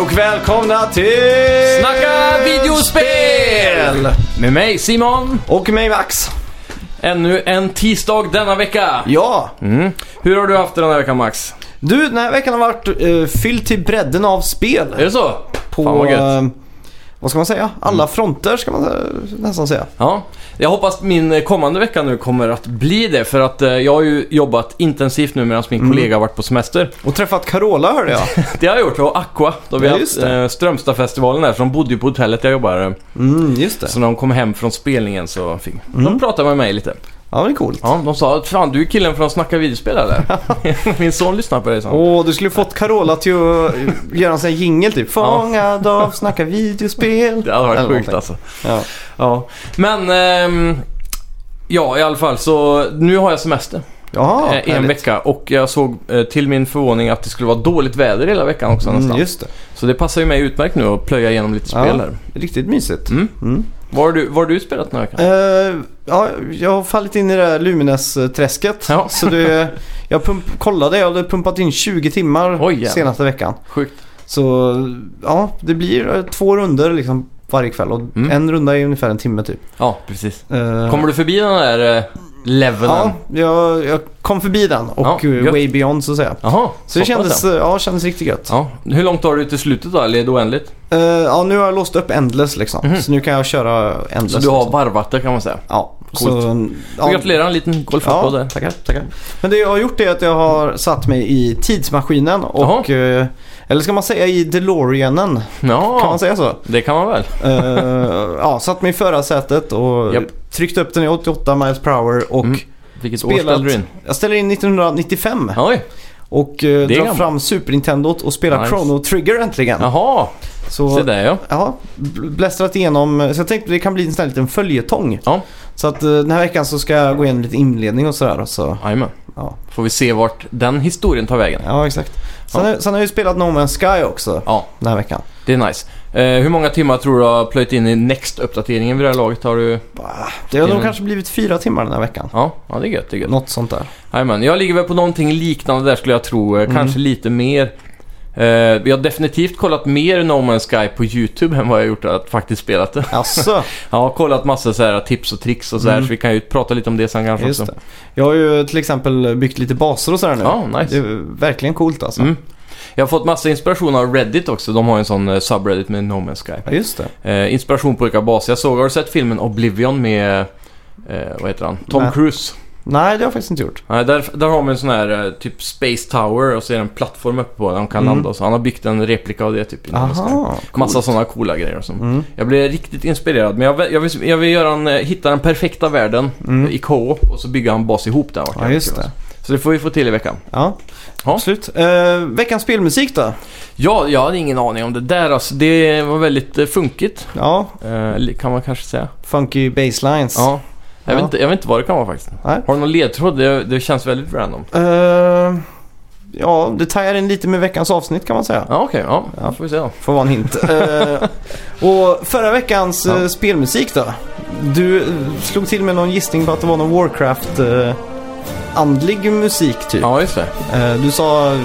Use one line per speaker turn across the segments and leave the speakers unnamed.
och välkomna till...
Snacka videospel! Med mig Simon.
Och mig Max.
Ännu en tisdag denna vecka.
Ja,
Hur har du haft det den här veckan Max?
du den här veckan har varit eh, fylld till bredden av spel.
Är det så?
På,
Fan vad gött.
eh, vad ska man säga? Alla fronter ska man eh, nästan säga.
Ja. Jag hoppas min eh, kommande vecka nu kommer att bli det för att eh, jag har ju jobbat intensivt nu medan min
Mm.
kollega har varit på semester.
Och träffat Carola hörde jag.
Det har jag gjort och Aqua. Då vi
Ja,
har
just
haft
det.
eh, Strömstadfestivalen där för de bodde ju på hotellet jag jobbar. eh,
Mm, just det.
Så när de kom hem från spelningen så fick
Mm.
de prata med mig lite.
Ja, det är coolt.
Ja, de sa att fan du är killen från Snacka videospel eller? min son lyssnar på dig sa han.
Åh, du skulle fått Carola till att eh, göra en sån här jingel typ. Fångad av, snacka videospel.
Det hade
Eller
varit sjukt
någonting.
alltså.
Ja.
Ja, men... ehm, ja, i alla fall så nu har jag semester
Jaha,
eh, en
Ah, härligt.
vecka och jag såg eh, till min förvåning att det skulle vara dåligt väder hela veckan också
Mm,
nästan.
just det.
Så det passar ju mig utmärkt nu att plöja igenom lite spel här.
Riktigt mysigt.
Mm.
Mm.
Vad har du, vad har du spelat den här veckan?
Eh, ja, jag har fallit in i det där Lumines-träsket.
Ja.
Så det, jag pump, kollade, jag hade pumpat in 20 timmar
Oj, jävlar.
senaste veckan.
Sjukt.
Så ja, det blir eh, två runder liksom varje kväll och
Mm.
en runda är ungefär en timme typ.
Ja, precis.
Eh,
Kommer du förbi den där eh, leveln?
Ja, jag, jag kom förbi den och
Ja,
eh,
gött.
way beyond så att säga.
Jaha,
Så det
pass,
kändes,
ja.
eh, ja, kändes riktigt gött. Ja.
Ja. Hur långt har du till slutet då? Eller är det oändligt?
ja, nu har jag låst upp Endless liksom.
Mhm.
Så nu kan jag köra Endless.
Så du har
liksom.
varvat det kan man säga.
Ja,
Coolt.
så...
Ja.
Ja,
Gratulerar, en liten golfapplåd
Ja,
där.
tackar, tackar. Men det jag har gjort är att jag har satt mig i tidsmaskinen och... eh, Eller ska man säga i DeLoreanen? Kan
Ja,
man säga så?
det kan man väl.
Eh, ja, satt mig i förarsätet och
Japp.
tryckt upp den i 88 miles per hour och
Mm. Vilket år
Spelat.
ställde du in?
jag ställer in 1995
Oj,
och uh, drar
gammalt.
fram Super Nintendot och spelar
Nice.
Chrono Trigger äntligen.
jaha. Se
Så,
där ja.
ja, bl- blästrat igenom. Så jag tänkte det kan bli en sån här liten följetong.
Ja.
Så att eh, den här veckan så ska jag gå igenom lite inledning och sådär. och Så,
Jajamän.
ja.
Får vi se vart den historien tar vägen.
Ja, exakt. Sen, Har, sen har jag ju spelat No Man's Sky också
Ja,
den här veckan.
det är nice. Eh, hur många timmar tror du har plöjt in i Next-uppdateringen vid det här laget? Har du...
Bah, Det har nog
Mm.
kanske blivit fyra timmar den här veckan.
Ja, ja det är gött. Det är gött.
Något sånt där.
Jajamän. Jag ligger väl på någonting liknande där skulle jag tro. Eh,
Mm.
Kanske lite mer. Eh, jag har definitivt kollat mer No Man's Sky på YouTube än vad jag gjort att faktiskt spelat det.
Alltså,
Jag har kollat massa så här tips och tricks och så här,
Mm.
så vi kan ju prata lite om det sen kanske
just
också.
det. Jag har ju till exempel byggt lite baser och sådär nu.
Ja, nice.
Det är verkligen coolt alltså.
Mm. Jag har fått massa inspiration av Reddit också. De har ju en sån eh, subreddit med No Man's Sky.
Ja, just det.
Eh, inspiration på olika baser. Jag såg, har du sett filmen Oblivion med, eh, vad heter han? Tom
Nej.
Cruise.
Nej, det har jag faktiskt inte gjort.
Nej, där, där har man en sån här eh, typ Space Tower och så är det en plattform uppe på där de kan
Mm.
landa och så. Han har byggt en replika av det typ. i någon sån här-
Aha,
Massa
coolt.
sådana coola grejer och så.
Mm.
Jag blev riktigt inspirerad men jag, vill- jag vill, jag vill göra en, eh, hitta den perfekta världen
Mm.
i co-op och så bygga en bas ihop där.
Ja, just det.
Så det får vi få till i veckan.
Ja,
alltså. Ja.
absolut. Eh, veckans spelmusik då?
Ja, jag hade ingen aning om det där alltså. Det var väldigt eh, funkigt
Ja,
eh, kan man kanske säga.
funky basslines.
Ja. Jag,
Ja.
Vet inte, jag vet inte vad det kan vara faktiskt.
Nej.
Har du någon ledtråd? Det, det känns väldigt random.
Eh, ja, det tajar in lite med veckans avsnitt kan man säga.
Ja, okej. ja.
Ja.
Då får vi se då.
Får vara en hint. Eh, och förra veckans
Ja.
eh, spelmusik då? Du eh, slog till med någon gissning på att det var någon Warcraft-andlig musik typ.
Ja, just det.
Eh, du sa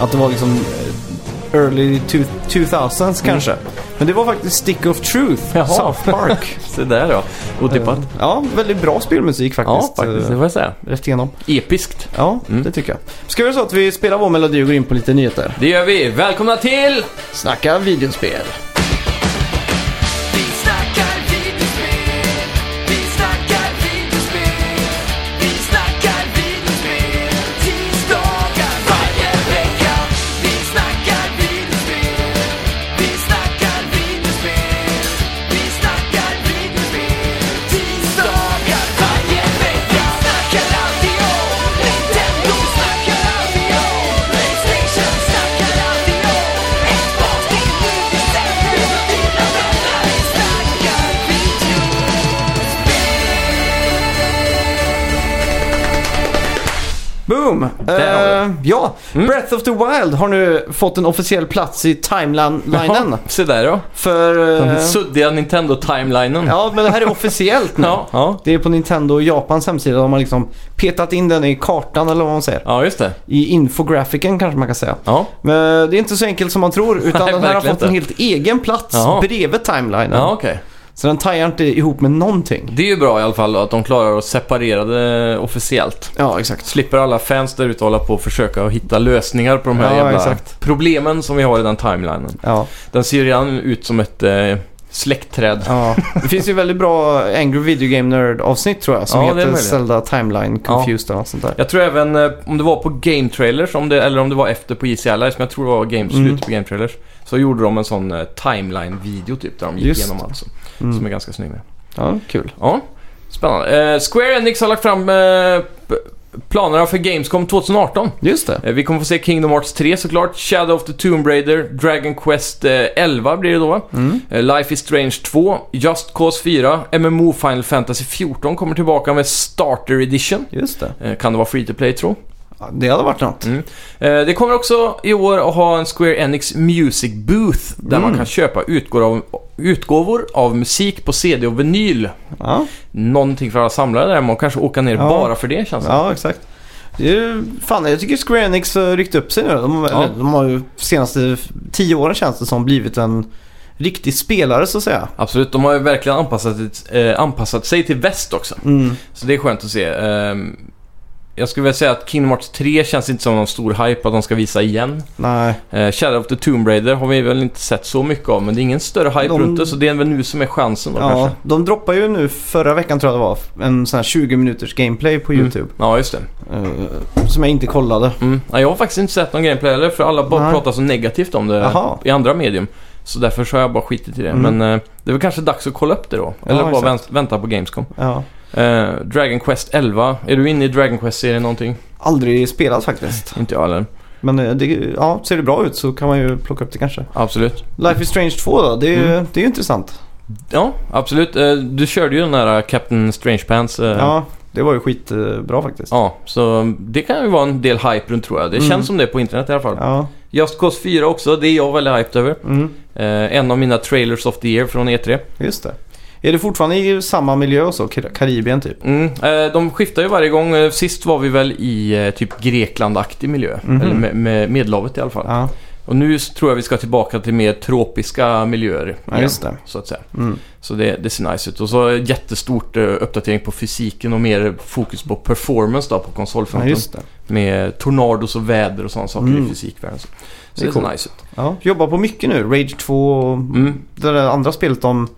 att det var liksom eh, early two- 2000s kanske. Men det var faktiskt Stick of Truth,
Mm. Jaha.
South Park.
Se där ja. Otippat.
Eh, ja, väldigt bra spelmusik
ja,
faktiskt.
faktiskt. Det
eh,
får jag säga.
Rätt igenom.
Episkt.
Ja,
Mm.
det tycker jag. Ska vi göra så att vi spelar vår melodi och går in på lite nyheter?
Det gör vi. Välkomna till...
Snacka videospel.
Vi snackar videospel, vi snackar videospel, vi snackar videospel, tisdagar varje vecka. Vi snackar videospel, vi snackar videospel, vi snackar videospel, tisdagar varje vecka. Vi snackar alltid om Nintendo, vi snackar alltid om Playstation, vi snackar alltid om Xbox, det är nu vi sänder.
Boom!
Där
Eh, ja,
Mm.
Breath of the Wild har nu fått en officiell plats i timelineen.
Ja, se där ja.
För...
Den
eh,
suddiga Nintendo-timelinen.
ja, men det här är officiellt nu.
ja, ja.
Det är på Nintendo Japans hemsida. De har liksom petat in den i kartan eller vad man säger.
Ja, just det.
I infografiken kanske man kan säga.
Ja,
Men eh, det är inte så enkelt som man tror. Utan
Nej,
den här har
verkligen
fått en
inte.
helt egen plats
Jaha.
bredvid timelinen.
ja okej.
Så den tajar inte ihop med någonting.
Det är ju bra i alla fall då, att de klarar att separera det officiellt.
Ja, exakt.
Slipper alla fans där ute hålla på och försöka att hitta lösningar på de här
Ja,
jävla
exakt.
problemen som vi har i den timelinen.
Ja,
Den ser ju redan ut som ett eh, släktträd.
ja. Det finns ju väldigt bra Angry Video Game Nerd avsnitt tror jag. Som
Ja, det är
heter
möjligt.
Zelda Timeline Confused eller något sånt där.
Jag tror även, eh, om det var på Game Trailers, om det, eller om det var efter på EC Allies, men jag tror det var game,
Mm.
slutet på Game Trailers, så gjorde de en sån eh, timeline-video typ, där de gick
Just
igenom allt. Så,
Mm.
Som är ganska snygg med.
Ja, kul.
Ja, spännande. Eh, Square Enix har lagt fram eh, p- planerna för Gamescom 2018.
Just det.
Eh, Vi kommer få se Kingdom Hearts 3 såklart, Shadow of the Tomb Raider, Dragon Quest eh, 11 blir det då va?
Mm.
Eh, Life is Strange 2, Just Cause 4, MMO Final Fantasy 14 kommer tillbaka med Starter Edition.
Just det.
Eh, Kan det vara Free to Play tro?
Ja, det hade varit något.
Mm. Eh, Det kommer också i år att ha en Square Enix Music Booth där man
Mm.
kan köpa utgåvor av, utgåvor av musik på CD och vinyl.
Ja,
Någonting för alla samlare där, man kanske åka ner
Ja.
bara för det känns det
ja exakt. Det är, ju- fan, jag tycker Square Enix har ryckt upp sig nu. De,
Ja.
eller, de har ju senaste f- tio åren känns det som blivit en riktig spelare så att säga.
Absolut, de har ju verkligen anpassat, eh, anpassat sig till väst också.
Mm.
Så det är skönt att se. Ehm, jag skulle vilja säga att Kingdom Hearts 3 känns inte som någon stor hype att de ska visa igen.
Nej,
Eh, Shadow of the Tomb Raider har vi väl inte sett så mycket av, men det är ingen större hype
De-
runt det, så det är väl nu som är chansen då
ja,
kanske.
de droppar ju nu förra veckan tror jag det var en sån här 20 minuters gameplay på YouTube.
Mm. Ja, just det.
eh, som jag inte kollade.
Mm. Ja, jag har faktiskt inte sett någon gameplay heller, för alla bara
Nej.
pratar så negativt om det
Jaha.
i andra medium. Så därför så har jag bara skitit i det.
Mm.
Men eh, det är väl kanske dags att kolla upp det då. Eller
Ja,
bara vänt, vänta på Gamescom.
Ja.
Eh, Dragon Quest 11. Är du inne i Dragon Quest-serien någonting?
Aldrig spelat faktiskt.
Inte jag heller.
Men eh, det, ja, ser det bra ut så kan man ju plocka upp det kanske.
Absolut.
Life is Strange 2 då, det är, ju- det är ju intressant.
Ja, absolut. Eh, Du körde ju den där Captain Strange Pants. eh,
Ja, det var ju skitbra faktiskt.
Ja, så det kan ju vara en del hype runt tror jag. Det
Mm.
känns som det på internet i alla fall.
Ja,
Just Cause 4 också, det är jag väldigt hyped över.
mm,
Eh, en av mina trailers of the year från E E3.
just det. Är det fortfarande i samma miljö och så? Kar- Karibien typ?
Mm. Eh, de skiftar ju varje gång. Eh, Sist var vi väl i eh, typ Grekland-aktig miljö.
Mhm.
Eller med, med Medelhavet i alla fall.
Ja,
Och nu s- tror jag vi ska tillbaka till mer tropiska miljöer.
ja
igen,
just det.
Så att säga.
Mm.
Så det, det ser nice ut. Och så jättestort eh, uppdatering på fysiken och mer fokus på performance då på
Ja,
konsolfronten.
just det.
Med tornados och väder och sådana saker
Mm.
i fysikvärlden. Så
Det
det,
är
ser
coolt.
nice ut.
Ja, jobbar på mycket nu. Rage 2 och
Mm.
det där andra spelet de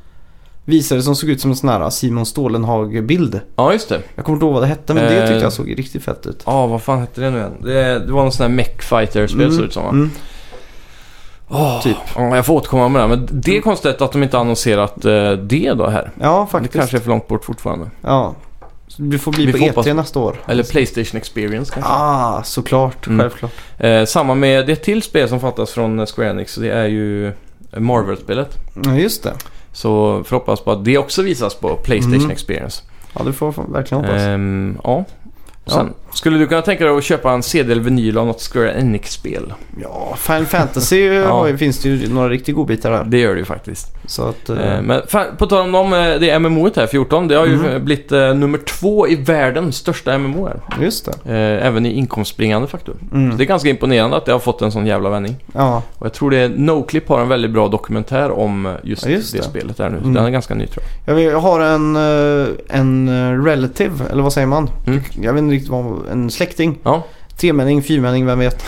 visade som såg ut som en sån här Simon Stålenhag-bild.
Ja, just det.
Jag kommer inte ihåg vad det hette men det
Eh,
tyckte jag såg riktigt fett ut.
Ja, vad fan hette det nu igen? Det, det var någon sån här mech fighter-spel såg det ut som va?
mm.
Åh,
typ.
ja, jag får återkomma med det. här, Men
Mm.
det är konstigt att de inte annonserat eh, det då här.
Ja,
Det
faktiskt.
kanske är för långt bort fortfarande.
Ja. Så det får bli
Vi
på
får
E3
hoppas.
nästa år.
Eller Playstation Experience kanske.
Ah, såklart.
Mm.
Självklart.
Eh, samma med det är ett till spel som fattas från eh, Square Enix. och Det är ju eh, Marvel-spelet.
Ja, just det.
Så får hoppas på att det också visas på Playstation
Mm.
Experience.
Ja, det får jag verkligen hoppas.
Ehm, ja. Och
Ja.
Sen, Skulle du kunna tänka dig att köpa en CD eller vinyl av något Square Enix-spel?
Ja, Final Fantasy har ju- finns det ju några riktigt godbitar där.
Det gör det ju faktiskt.
Så att... eh,
Ehm, men fan, på tal om dem, eh, det MMO här, 14, det har ju
Mm.
eh, blivit eh, nummer två i världen största MMO här.
Just det.
Eh, även i inkomstbringande faktor. Så
Mm.
det är ganska imponerande att det har fått en sån jävla vändning.
Ja,
Och jag tror det är Noclip har en väldigt bra dokumentär om eh, just,
Ja, just
det,
det.
spelet där nu. Så
Mm.
Den är ganska ny tror jag.
jag, vet, jag har en, eh, en eh, relative, eller vad säger man?
Mm.
Jag vet inte riktigt vad, en släkting.
Ja.
Tremänning, fyrmänning, vem vet.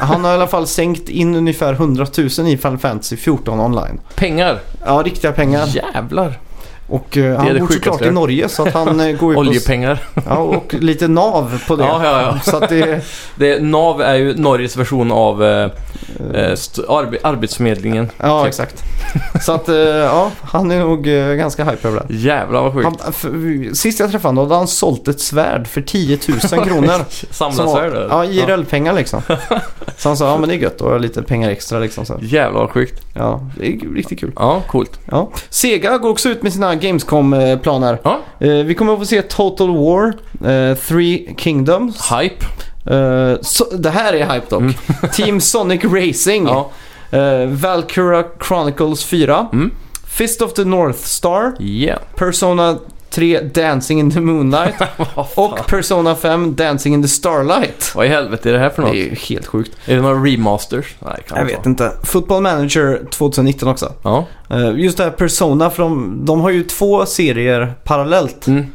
Han har i alla fall sänkt in ungefär 100 000 i Final Fantasy 14 online.
Pengar!
Ja, riktiga pengar.
Jävlar!
Och eh, han
det
bor
sjukaste
såklart
jag
i
hört.
Norge så att han eh, går ju på...
Oljepengar.
Ja, och lite nav på det.
Ja, ja, ja.
Så att det...
Det, NAV är ju Norges version av eh, eh, st- arbe- Arbetsförmedlingen.
Ja,
Typ.
exakt. Så att eh, ja, han är nog eh, ganska hype över det.
Jävlar vad sjukt.
Han, eh, för, sist jag träffade honom då hade han sålt ett svärd för 10 000 kronor.
Samlas
Som var-
här då?
Ja, IRL-pengar liksom. Så han sa, ja men det är gött, då har jag lite pengar extra liksom. Så.
Jävlar vad sjukt.
Ja, det är riktigt kul.
Ja, coolt.
Ja. Sega går också ut med sina Gamescom-planer.
Ja.
Vi kommer att få se Total War, eh, Three Kingdoms.
Hype.
Eh, så, det här är hype dock.
Mm.
Team Sonic Racing.
Ja.
Eh, Valkyria Chronicles 4.
Mm.
Fist of the North Star.
Yeah.
Persona 3 Dancing in the Moonlight. och Persona 5 Dancing in the Starlight.
Vad i helvete är det här för
Det
något?
är ju helt sjukt.
Är det några remasters? Nej, det kan
Jag
det
vet
vara.
inte. Football Manager 2019 också.
Ja.
Eh, Just det här Persona, för de, de har ju två serier parallellt.
Mm.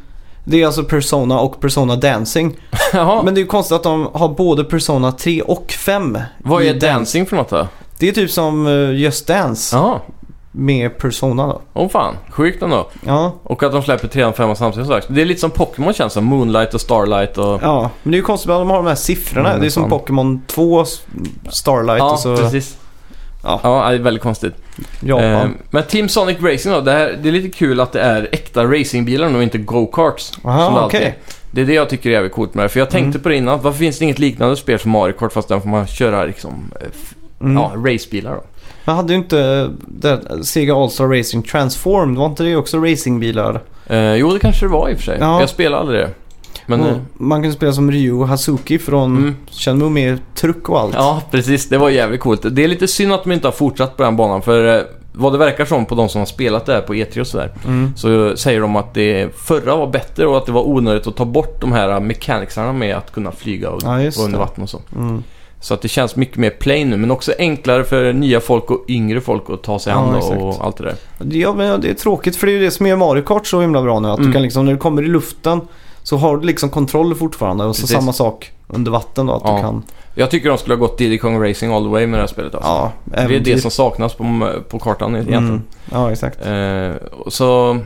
Det är alltså Persona och Persona Dancing.
Jaha.
Men det är ju konstigt att de har både Persona 3 och 5.
Vad
i
är
den-
dancing för något då?
Det är typ som eh, Just Dance
Jaha.
med Persona då.
Åh fan, sjukt ändå.
Ja,
Och att de släpper 3 och 5 samtidigt som sagt. Det är lite som Pokémon känns som. Moonlight och Starlight och...
ja. men det är ju konstigt att de har de här siffrorna.
Mm,
det är som
fan.
Pokémon 2, S- Starlight
Ja,
och så
precis.
Ja.
Ja. det är väldigt konstigt. Eh,
Japan.
men Team Sonic Racing då, det, här, det är lite kul att det är äkta racingbilar nu och inte go-karts. som det
Aha,
alltid
okej. Mm.
är. Det är det jag tycker är jävligt coolt med det För jag tänkte på det innan, varför finns det inget liknande spel som Mario Kart fast där får man köra liksom, eh, f-
Mm.
ja, racebilar då?
Men hade ju inte eh, det, Sega All-Star Racing Transformed, var inte det också racingbilar?
Eh, jo, det kanske det var i och för sig.
Ja.
Jag spelade aldrig det. Men,
Och
eh,
Man kunde spela som Ryu och Hazuki från
Mm.
Shenmue med truck och allt.
Ja, precis. Det var jävligt coolt. Det är lite synd att de inte har fortsatt på den banan för eh, vad det verkar som på de som har spelat det här på E3 och sådär
Mm.
så säger de att det förra var bättre och att det var onödigt att ta bort de här mekaniksarna med att kunna flyga och
Ja, just
vara under
det.
vatten och så.
Mm.
Så att det känns mycket mer plain nu men också enklare för nya folk och yngre folk att ta sig
Ja,
an
exakt.
och allt det där.
Ja, men det är tråkigt för det är ju det som gör Mario Kart så himla bra nu. Att du
Mm.
kan liksom, när du kommer i luften så har du liksom kontroll fortfarande. Och så
Precis.
samma sak under vatten då, att
Ja.
du kan...
Jag tycker de skulle ha gått Diddy Kong Racing all the way med det här spelet alltså.
Ja,
Det är det
äventyr.
som saknas på, på kartan egentligen.
Mm. Ja, exakt.
Eh, och så...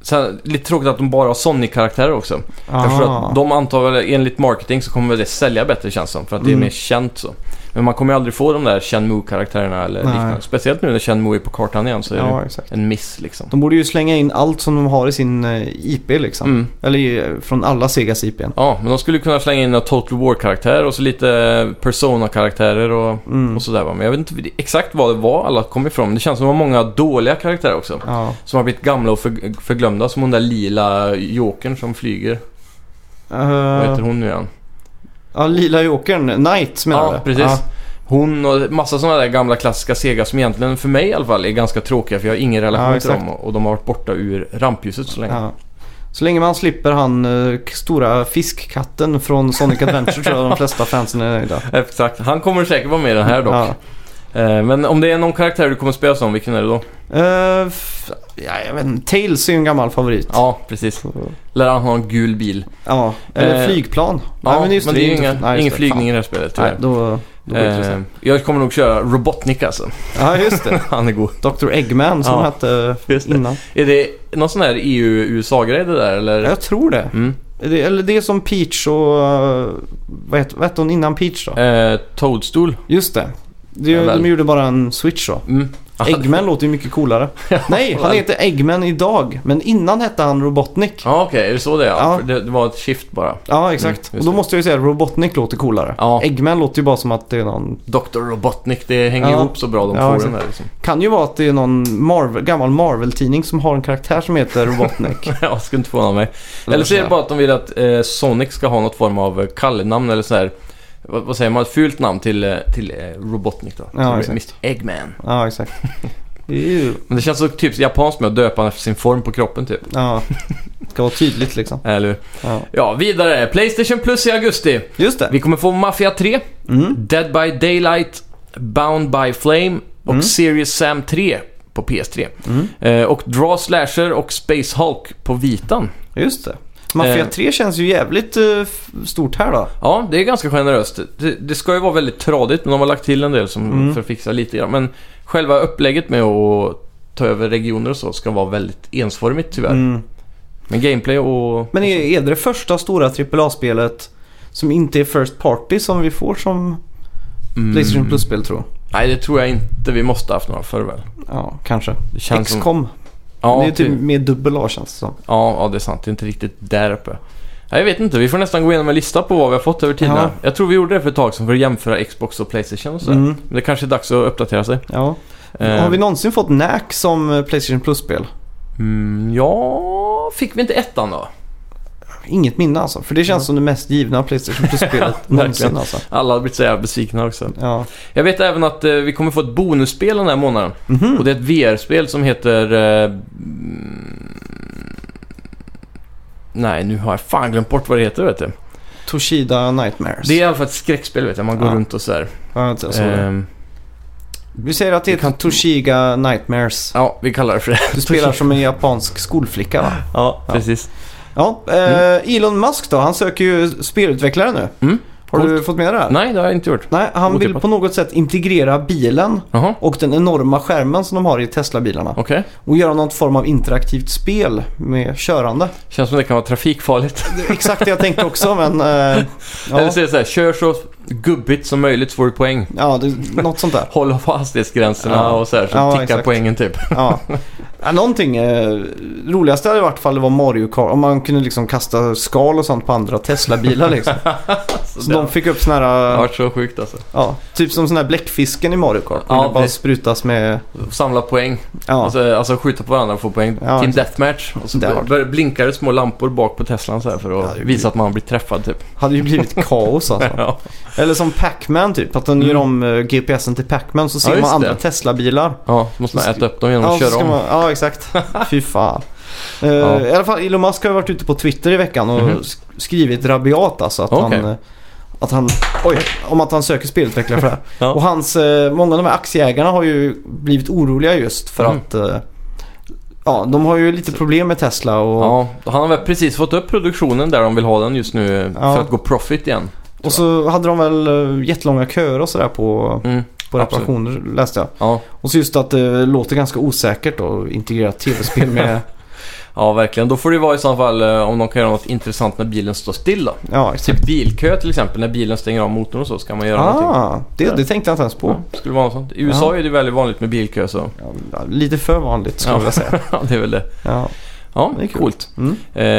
Sen, lite tråkigt att de bara har Sonic-karaktärer också. Jag tror
Aha.
att de antar väl, enligt marketing så kommer väl det sälja bättre känns det som, för att det
Mm.
är mer känt så. Men man kommer ju aldrig få de där Shenmue karaktärerna eller
Nej.
liknande. Speciellt nu när Shenmue är på kartan igen så är
Ja, exakt.
det en miss liksom.
De borde ju slänga in allt som de har i sin eh, IP liksom.
Mm.
Eller i- från alla Segas IPn.
Ja, men de skulle kunna slänga in några Total War-karaktärer och så lite eh, Persona-karaktärer och,
Mm.
och sådär va. Men jag vet inte exakt vad det var alla kom ifrån. Det känns som att det var många dåliga karaktärer också.
Ja.
Som har blivit gamla och för, förglömda. Som hon där lila jokern som flyger. Vad heter
Uh,
hon nu igen?
ja, Lila Jokern, Knight menar
Ja,
du?
precis. Hon och massa sådana där gamla klassiska Sega som egentligen för mig i alla fall är ganska tråkiga för jag har ingen relation
Ja,
till
exakt.
dem och de har varit borta ur rampljuset så länge.
Ja. Så länge man slipper han eh, k- stora fiskkatten från Sonic Adventure tror jag de flesta fansen är nöjda.
Exakt, han kommer säkert vara med i den här dock.
Ja.
Eh, Men om det är någon karaktär du kommer spela som, vilken är det då?
Eh, f- ja, jag vet inte. Tails är ju en gammal favorit.
Ja, precis.
Så-
Lär han ha en gul bil?
ja. Eller
Eh,
flygplan.
Ja, men,
just
det är ju
inte-
inga,
nej, just
ingen
det.
flygning i det här spelet
Fan. Nej,
tyvärr.
då, då blir det
eh,
intressant.
jag kommer nog köra Robotnik alltså.
Ja, just det.
han är god.
Dr. Eggman som
Ja,
hette
just det.
innan.
Är det någon sån här EU-USA-grej det där eller?
Jag tror det.
Mm.
det. Eller det är som Peach och... eh, Vad hette, vad hette hon innan Peach då?
Eh, Toadstool?
Just det. det
Ja, väl.
de gjorde bara en switch då.
Mm.
Eggman låter ju mycket coolare. Nej, han
väl.
heter Eggman idag. Men innan hette han Robotnik.
Ja, okej. Är det så det är?
Ja.
Ja. För Det, det var ett shift bara.
Ja, exakt.
Mm,
och
just
då
det.
måste jag ju säga att Robotnik låter coolare.
Ja.
Eggman låter ju bara som att det är någon...
Dr. Robotnik, det hänger
Ja.
ihop så bra de
Ja,
ja,
exakt.
där liksom.
Kan ju vara att det är någon Marvel, gammal Marvel-tidning som har en karaktär som heter Robotnik.
Jag skulle inte förvåna mig. Eller så är det bara att de vill att eh, Sonic ska ha något form av eh, kallenamn eller så här. Vad, vad säger man? Ett fult namn till, eh, till eh, Robotnik då. Så det blir
exakt.
Mr Eggman.
Ja, exakt. Det är ju...
Men det känns så typ japanskt med att döpa honom efter sin form på kroppen typ.
Ja. Ska vara tydligt liksom.
Eller hur?
Ja.
Ja, vidare. Playstation Plus i augusti.
Just det.
Vi kommer få Mafia 3,
Mm.
Dead by Daylight, Bound by Flame och
Mm.
Serious Sam 3 på PS3.
Mm.
Eh, och Draw Slasher och Space Hulk på Vitan.
Just det. Mafia
Eh.
3 känns ju jävligt eh, f- stort här då.
Ja, det är ganska generöst. Det, det ska ju vara väldigt tradigt, men de har lagt till en del som
Mm.
för att fixa lite grann. Men själva upplägget med att ta över regioner och så ska vara väldigt ensformigt tyvärr.
Mm.
Men gameplay och...
Men är, är det det första stora AAA-spelet som inte är First Party som vi får som
Mm.
Playstation Plus-spel tror jag?
Nej, det tror jag inte. Vi måste ha haft några förr väl?
Ja, kanske.
Det känns som...
XCOM.
Ja,
det är typ
det-
mer dubbel A känns det som.
ja, ja, det är sant. Det är inte riktigt där uppe. Nej, jag vet inte. Vi får nästan gå igenom en lista på vad vi har fått över tiderna.
Ja.
Jag tror vi gjorde det för ett tag sedan för att jämföra Xbox och Playstation och så.
Mm.
Men det kanske är dags att uppdatera sig.
Ja.
Eh,
Har vi någonsin fått Knack som eh, Playstation Plus-spel?
mm, ja... Fick vi inte ettan då?
inget minne alltså. För det känns som det mest givna Playstation Plus-spelet någonsin
verkligen.
alltså.
Alla har blivit så jävla besvikna också.
Ja.
Jag vet även att eh, vi kommer få ett bonusspel den här månaden.
Mhm.
Och det är ett VR-spel som heter... Eh, mm, nej, nu har jag fan glömt bort vad det heter vet du.
Toshida Nightmares.
Det är i alla fall ett skräckspel vet jag. Man går
Ja.
runt och sådär.
Ja, jag såg det.
Ehm,
Vi säger att det
vi
heter
kan-
Toshiga Nightmares.
ja, vi kallar det för det.
Du spelar som en japansk skolflicka va?
Ja, precis.
Ja, eh, Elon Musk då, han söker ju spelutvecklare nu.
Mm.
Har du fått med det här?
Nej, det har jag inte gjort.
Nej, han vill
Otippat.
på något sätt integrera bilen
Jaha,
och den enorma skärmen som de har i Tesla-bilarna
okej.
och göra någon form av interaktivt spel med körande.
Känns som det kan vara trafikfarligt.
Det är Exakt det jag tänkte också men... Eh,
Eller
ja,
så är det så här, kör så gubbigt som möjligt så får du poäng.
ja det, något sånt där.
Håll på hastighetsgränserna
Ja.
och så här, så
Ja,
tickar
exakt.
poängen typ.
Ja. Ja, någonting. Eh, roligaste hade i vart fall var Mario Kart. Om man kunde liksom kasta skal och sånt på andra Tesla-bilar liksom. Så de fick upp såna
Det
här...
har
eh,
varit så sjukt alltså.
Ja, typ som sån här bläckfisken i Mario Kart.
Ja,
Ja, bara
det-
sprutas med...
Samla poäng.
Ja,
Alltså, alltså skjuta på varandra och få poäng.
Ja,
Team
exakt.
Deathmatch. Och så
Det har-
bör, blinkar det små lampor bak på Teslan så här för
Ja,
att
det-
visa att man blir träffad typ.
hade ju blivit kaos alltså.
Ja, Mm.
Eller som Pac-Man typ, att den gör om eh, GPSen till Pac-Man så ser
just
man andra
det.
Tesla-bilar.
ja så måste man äta upp dem genom
Ja,
att
så
köra
ska
om.
man, ja, exakt. Fy fan. Eh,
Ja.
I alla fall, Elon Musk har ju varit ute på Twitter i veckan och
Mhm.
sk- skrivit rabiat alltså. Att
Okej.
han... eh, Att han, oj, om att han söker spelutvecklare för det här.
Ja.
Och hans, eh, många av de här aktieägarna har ju blivit oroliga just för
Mm.
att, eh, ja, de har ju lite problem med Tesla och,
Ja, han har väl precis fått upp produktionen där de vill ha den just nu eh,
Ja.
för att gå profit igen.
och så hade de väl eh, jättelånga köer och sådär på,
Mm.
på
absolut.
reparationer läste jag.
Ja,
Och så just att eh, det låter ganska osäkert att integrera tv-spel med...
ja, verkligen. Då får det vara i så fall eh, om de kan göra något intressant när bilen står still då.
ja, exakt.
Typ bilkö till exempel, när bilen stänger av motorn och så ska man göra någonting.
Ah, det, det tänkte jag inte ens på.
Ja, skulle vara något sånt. I USA är det väldigt vanligt med bilkö så.
Ja, Lite för vanligt skulle jag
Ja.
vilja säga.
Ja, det är väl det.
Ja.
Ja,
Det är kul.
coolt.
Mm.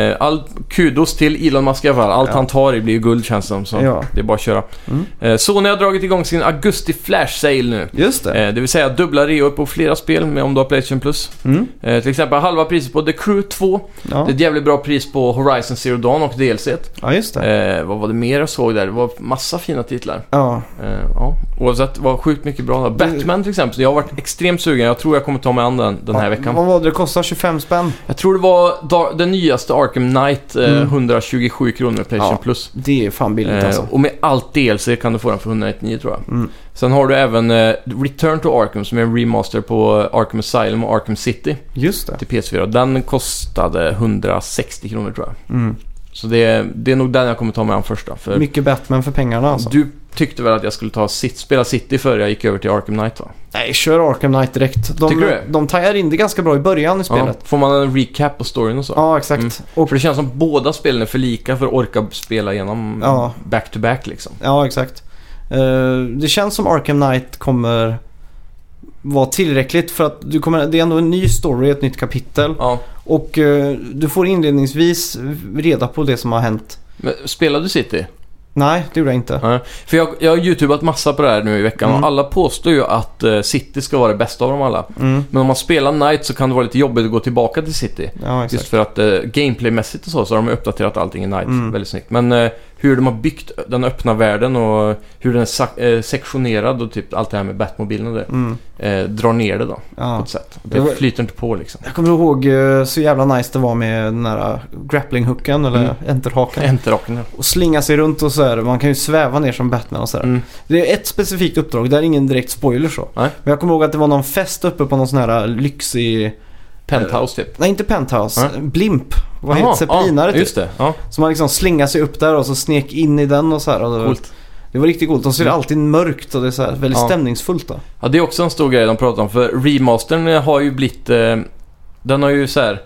Eh, all kudos till Elon Musk i alla fall. Allt
Ja.
han tar i blir ju guld känns det som. Så
Ja.
det är bara att köra.
Mm.
Eh, Sony har dragit igång sin augusti Flash Sale nu.
Just det.
Eh, det vill säga dubbla reor på flera spel med om du har Playstation Plus.
Mm.
Eh, till exempel halva priset på The Crew 2.
Ja.
Det är ett jävligt bra pris på Horizon Zero Dawn och DLC.
ja, just det.
Eh, vad var det mer jag såg där? Det var massa fina titlar.
Ja.
Eh, ja. Oavsett, det var sjukt mycket bra. Batman till exempel. Jag har varit extremt sugen. Jag tror jag kommer ta mig an den den här
Ja,
veckan.
Vad var det? Det kostar 25 spänn.
Jag tror det var da- den nyaste Arkham Knight, eh,
Mm.
127 kronor med Playstation
Ja,
Plus.
Det är fan billigt
Eh,
alltså.
och med allt DLC kan du få den för 199 tror jag.
Mm.
Sen har du även eh, Return to Arkham som är en remaster på eh, Arkham Asylum och Arkham City
Just det.
till PS4. Den kostade 160 kronor tror jag.
Mm.
Så det är, det är nog den jag kommer ta mig an första. För
Mycket Batman för pengarna alltså.
eh, Du tyckte väl att jag skulle ta sit, spela City före jag gick över till Arkham Knight va?
Nej, kör Arkham Knight direkt. De,
Tycker du det?
de tajar in det ganska bra i början i
Ja,
spelet.
får man en recap på storyn och så?
Ja, exakt.
Mm.
Och,
För det känns som båda spelen är för lika för att orka spela igenom
Ja.
back-to-back liksom.
ja, exakt. Eh, det känns som Arkham Knight kommer vara tillräckligt för att du kommer, det är ändå en ny story, ett nytt kapitel.
Ja.
Och eh, du får inledningsvis reda på det som har hänt.
Men spelar du City?
Nej, det gjorde jag inte.
Ja. För jag, jag har youtubat massa på det här nu i veckan
Mm.
och alla påstår ju att eh, City ska vara det bästa av dem alla.
Mm.
Men om man spelar Knight så kan det vara lite jobbigt att gå tillbaka till City.
Ja, exakt.
Just för att eh, gameplaymässigt och så, så har de uppdaterat allting i Knight
Mm.
väldigt snyggt. Men eh, hur de har byggt den öppna världen och hur den är sa- eh, sektionerad och typ allt det här med Batmobilen och det.
Mm.
Eh, drar ner det då, på
Ja.
ett sätt.
Det var-
Det flyter inte på liksom.
Jag kommer ihåg eh, så jävla nice det var med den där grapplinghooken eller
Mm.
enterhaken.
Enterhaken ja.
Och slinga sig runt och så här. Man kan ju sväva ner som Batman och så här.
Mm.
Det är ett specifikt uppdrag. Det är ingen direkt spoiler så.
Nej.
Men jag kommer ihåg att det var någon fest uppe på någon sån här eh, lyxig...
Penthouse typ.
Nej, inte penthouse. Blimp. Var
Jaha,
helt zeppelinare
ja,
typ.
Just det, ja.
Så man liksom slingade sig upp där och så snek in i den och så här. Och det,
Coolt. Mm.
det var riktigt coolt. Och så är det alltid mörkt och det är så här väldigt
Ja.
stämningsfullt då.
Ja, det är också en stor grej de pratar om. För remastern har ju blivit... Eh, den har ju så här...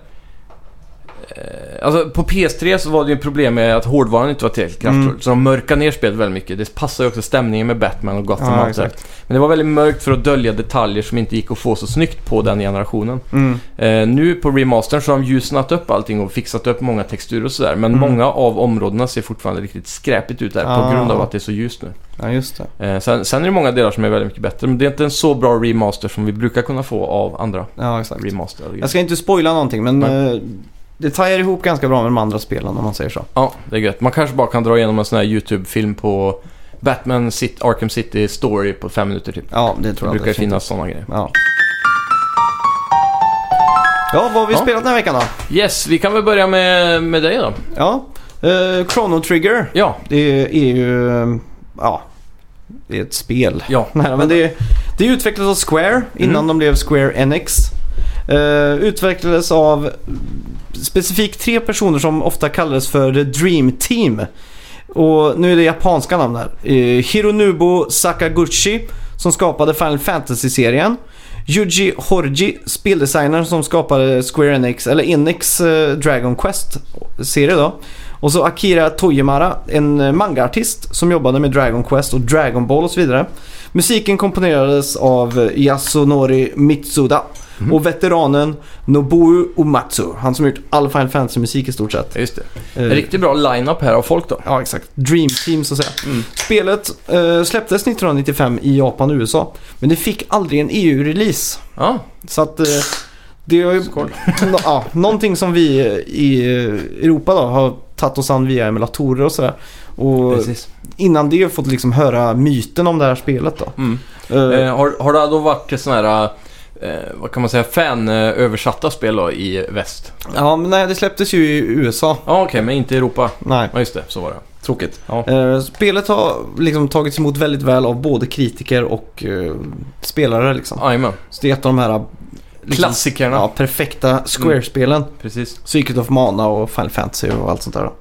Eh, alltså på PS3 så var det ju problem med att hårdvaran inte var tillräckligt kraftfull.
Mm.
Så de mörkade ner spelet väldigt mycket. Det passar ju också stämningen med Batman och Gotham
Ja,
och allt det här. Men det var väldigt mörkt för att dölja detaljer som inte gick att få så snyggt på den generationen.
Mm.
Eh, nu på remastern så har de ljusnat upp allting och fixat upp många texturer och sådär. Men
Mm.
många av områdena ser fortfarande riktigt skräpigt ut där
Ah.
på grund av att det är så ljust nu.
Ja, just det.
Eh, sen, sen är det många delar som är väldigt mycket bättre, men det är inte en så bra remaster som vi brukar kunna få av andra
Ja, exakt.
remaster.
Jag ska inte spoila någonting men eh, det tajar ihop ganska bra med de andra spelen om man säger så.
Ja, det är gött. Man kanske bara kan dra igenom en sån här YouTube-film på Batman City, Arkham City Story på fem minuter typ.
Ja, det tror
det
jag
brukar
definitivt.
finnas sådana grejer.
Ja. ja, vad har vi
Ja.
spelat den här veckan då?
Yes, vi kan väl börja med, med dig då.
Ja, eh, Chrono Trigger.
Ja,
Det är ju... eh, Ja, det är ett spel.
ja.
Nej, men det, är- det är utvecklat av Square innan
Mm.
de blev Square Enix. Eh, utvecklades av specifikt tre personer som ofta kallades för The Dream Team. Och nu är det japanska namn här. Eh, Hironobu Sakaguchi som skapade Final Fantasy-serien. Yuji Horji, speldesigner som skapade Square Enix, eller Enix eh, Dragon Quest-serie då. Och så Akira Toyemara, en eh, mangaartist som jobbade med Dragon Quest och Dragon Ball och så vidare. Musiken komponerades av eh, Yasunori Mitsuda
Mhm.
och veteranen Nobuo Umatsu. Han som gjort all Final Fantasy-musik i stort sett.
Just det.
Eh,
En riktigt bra line-up här av folk då.
Ja, exakt. Dream Team så att säga.
Mm.
Spelet eh, släpptes 1995 i Japan och USA. Men det fick aldrig en EU-release.
Ja,
Så att eh, det är ju
skål.
nå- ja, någonting som vi eh, i eh, Europa då har tagit oss an via emulatorer och sådär. Och
Precis.
innan det har fått liksom höra myten om det här spelet då.
Mm.
Eh,
Eh, har, har det då varit sådana här, eh, vad kan man säga, fan-översatta spel då i väst?
Ja, men nej, det släpptes ju i USA.
Ja, okej, men inte i Europa.
Nej.
Ja, just det. Så var det.
Tråkigt.
Ja.
Eh, spelet har liksom tagits emot väldigt väl av både kritiker och eh, spelare liksom.
Jajamän,
Så det är ett av de här liksom,
Klassikerna.
Ja, perfekta Square-spelen.
precis.
Secret of Mana och Final Fantasy och allt sånt där. då.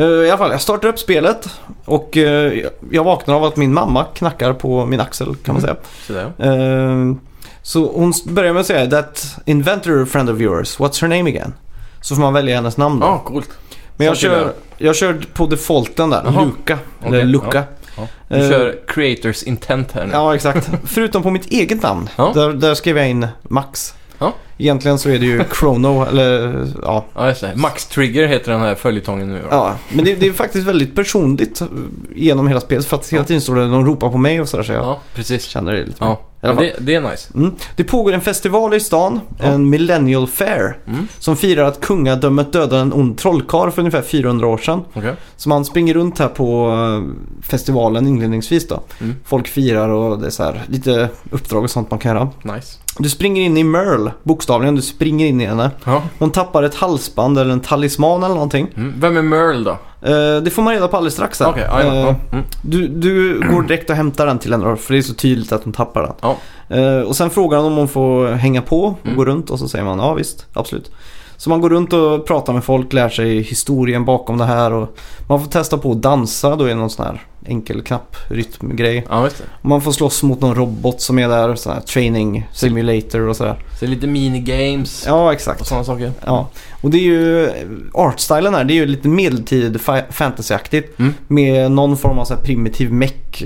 Eh, I alla fall, jag startar upp spelet och eh, jag vaknar av att min mamma knackar på min axel kan man
Mm.
säga.
Sådär.
Eh, så hon s- börjar med att säga that inventor friend of yours, what's her name again? Så får man välja hennes namn då.
Ja, coolt.
Men jag
så till
kör, jag kör på defaulten där,
Jaha.
Luca.
Okej,
Eller Luca.
Ja. Du
Eh,
kör creators intent här nu.
Ja, exakt. Förutom på mitt eget namn.
Ja.
Där, där skrev jag in Max.
Ja.
Egentligen så är det ju Chrono, eller ja.
Ja, just det. Max Trigger heter den här följetongen nu. Ja.
ja. Men det, det är faktiskt väldigt personligt eh, genom hela spelet. För att hela
Ja.
tiden står det de ropar på mig och sådär. Så jag
ja, precis.
känner det lite. mer.
Ja,
I alla
ja
fall.
det, det är nice.
Mm. Det pågår en festival i stan,
Ja.
en Millennial Fair.
Mm.
Som firar att kungadömet dödade en ond trollkarl för ungefär 400 år sedan.
Okej.
Så man springer runt här på eh, festivalen inledningsvis då.
Mm.
Folk firar och det är så här lite uppdrag och sånt man kan göra.
Nice.
Du springer in i Merle, bokstavligen. Du springer in i henne.
Ja.
Hon tappar ett halsband eller en talisman eller någonting.
Mm. Vem är Merle då?
Eh, det får man reda på alldeles strax. här.
Okej, okay,
Eh,
ja. Mm.
du, du går direkt och hämtar den till henne då, för det är så tydligt att hon tappar den.
Ja.
Eh, och sen frågar hon om hon får hänga på och
Mm.
gå runt och så säger man ja visst, absolut. Så man går runt och pratar med folk, lär sig historien bakom det här och man får testa på att dansa då i någon sån här enkel knapprytmgrej.
ja, just det.
Och Man får slåss mot någon robot som är där, sån här training simulator och sådär.
Så lite minigames
Ja,
och
exakt.
sådana saker.
Ja, och det är ju artstylen här. Det är ju lite medeltid fa- fantasyaktigt.
Mm.
Med någon form av så här primitiv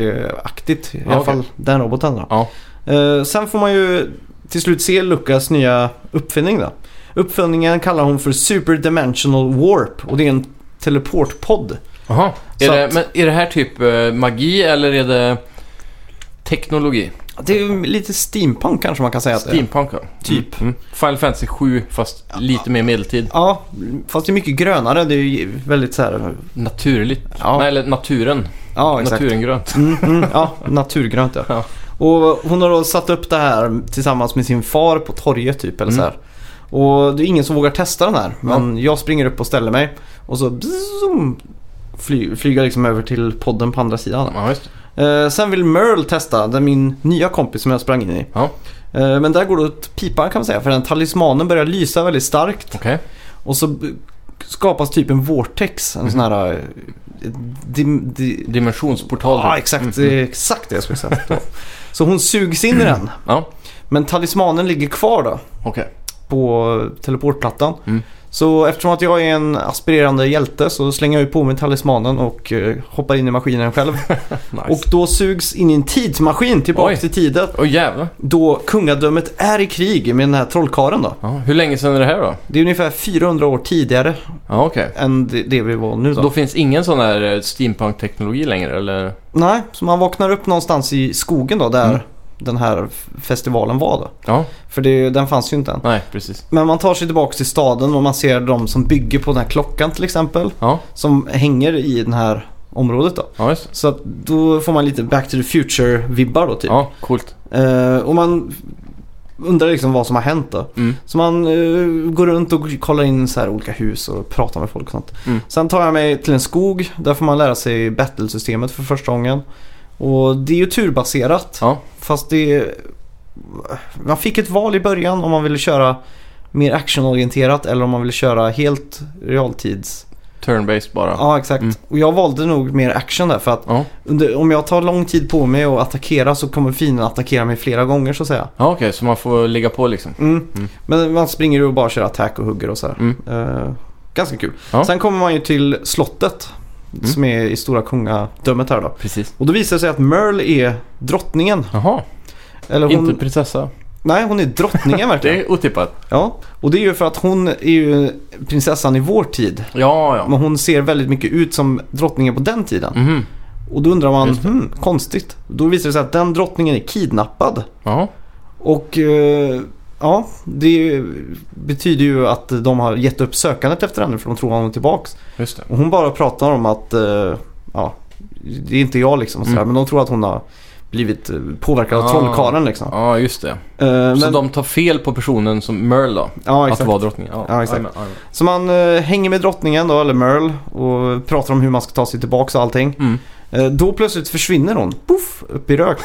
mech-aktigt. I
Ja,
alla
okej.
fall den roboten då.
Ja.
Eh, sen får man ju till slut se Lucas nya uppfinning då. Uppfinningen kallar hon för Super Dimensional Warp och det är en teleportpodd.
Jaha. Är
Så
det,
att-
men är det här typ eh, magi eller är det teknologi?
Det är ju lite steampunk kanske man kan säga att det är.
Steampunk ja.
Typ.
Mm. Mm. Final Fantasy 7 fast lite mer medeltid.
Ja, fast det är mycket grönare. Det är ju väldigt så här...
Naturligt.
Ja.
Nej, eller naturen.
Ja, exakt.
Naturen grönt.
Mm, mm, ja, naturgrönt ja.
Ja.
Och hon har då satt upp det här tillsammans med sin far på torget typ eller så här. Och det är ingen som vågar testa den här. Men jag springer upp och ställer mig. Och så bzzzoom, fly, flyger jag liksom över till podden på andra sidan.
Ja, just det.
Eh, sen vill Merle testa, den min nya kompis som jag sprang in i.
Ja.
Eh, men där går det åt pipan kan man säga. För den talismanen börjar lysa väldigt starkt.
Okej.
Och så b- skapas typ en vortex. En sån här... eh, dim, di,
Dimensionsportal.
Ja,
typ.
exakt. Det är exakt det jag skulle säga. Då. Så hon sugs in i den.
Ja,
Men talismanen ligger kvar då
okej.
på teleportplattan.
Mm.
Så eftersom att jag är en aspirerande hjälte så slänger jag ju på mig talismanen och eh, hoppar in i maskinen själv.
Nice.
Och då sugs in i en tidsmaskin tillbaka
Oj.
till tiden
Åh jävlar.
då kungadömet är i krig med den här trollkaren då.
Ja, hur länge sedan är det här då?
Det är ungefär 400 år tidigare
Ja, okej.
än det- det vi var nu då.
Då finns ingen sån här eh, steampunk-teknologi längre eller? Mm.
Nej, så man vaknar upp någonstans i skogen då där den här f- festivalen var då.
Ja,
För det, den fanns ju inte än.
nej precis.
Men man tar sig tillbaka till staden och man ser de som bygger på den här klockan till exempel.
Ja,
Som hänger i det här området då.
ja just
Så att då får man lite back to the future-vibbar då typ.
Ja, coolt.
Eh, och man undrar liksom vad som har hänt då.
Mm.
Så man eh, går runt och kollar in så här olika hus och pratar med folk och sånt.
Mm.
Sen tar jag mig till en skog. Där får man lära sig battle-systemet för första gången. Och det är ju turbaserat.
Ja.
Fast det... Man fick ett val i början om man ville köra mer actionorienterat eller om man ville köra helt realtids.
Turn-based bara.
Ja,
Ja.
exakt.
Mm.
Och jag valde nog mer action där för att
Ja,
under, om jag tar lång tid på mig att attackera så kommer fienden attackera mig flera gånger så att säga.
okej, så man får ligga på liksom.
Mm.
Mm.
Men man springer och bara kör attack och hugger och sådär.
Mm.
Eh, ganska kul.
Ja.
Sen kommer man ju till slottet
Mm.
som är i Stora Kungadömet här då.
Precis.
Och då visar det sig att Merle är drottningen.
Jaha,
Eller hon...
inte prinsessa.
Nej, hon är drottningen verkligen.
Det är otippat.
Ja. Och det är ju för att hon är ju prinsessan i vår tid.
Ja, ja.
Men hon ser väldigt mycket ut som drottningen på den tiden.
Mhm.
Och då undrar man,
Just
hmm, konstigt. Då visar det sig att den drottningen är kidnappad.
Ja,
Och eh, ja, det betyder ju att de har gett upp sökandet efter henne för de tror honom tillbaks.
just det.
Och hon bara pratar om att eh, ja, det är inte jag liksom och sådär,
Mm.
men de tror att hon har blivit eh, påverkad av
Ah.
trollkarlen liksom.
Ja, just det.
Eh, men,
Så de tar fel på personen som Merle då?
ja,
Att
exakt.
vara drottningen?
Ja, exakt.
jajamän, jajamän.
Så man eh, hänger med drottningen då, eller Merle, och pratar om hur man ska ta sig tillbaks och allting.
Mm.
Eh, Då plötsligt försvinner hon, poff, upp i rök.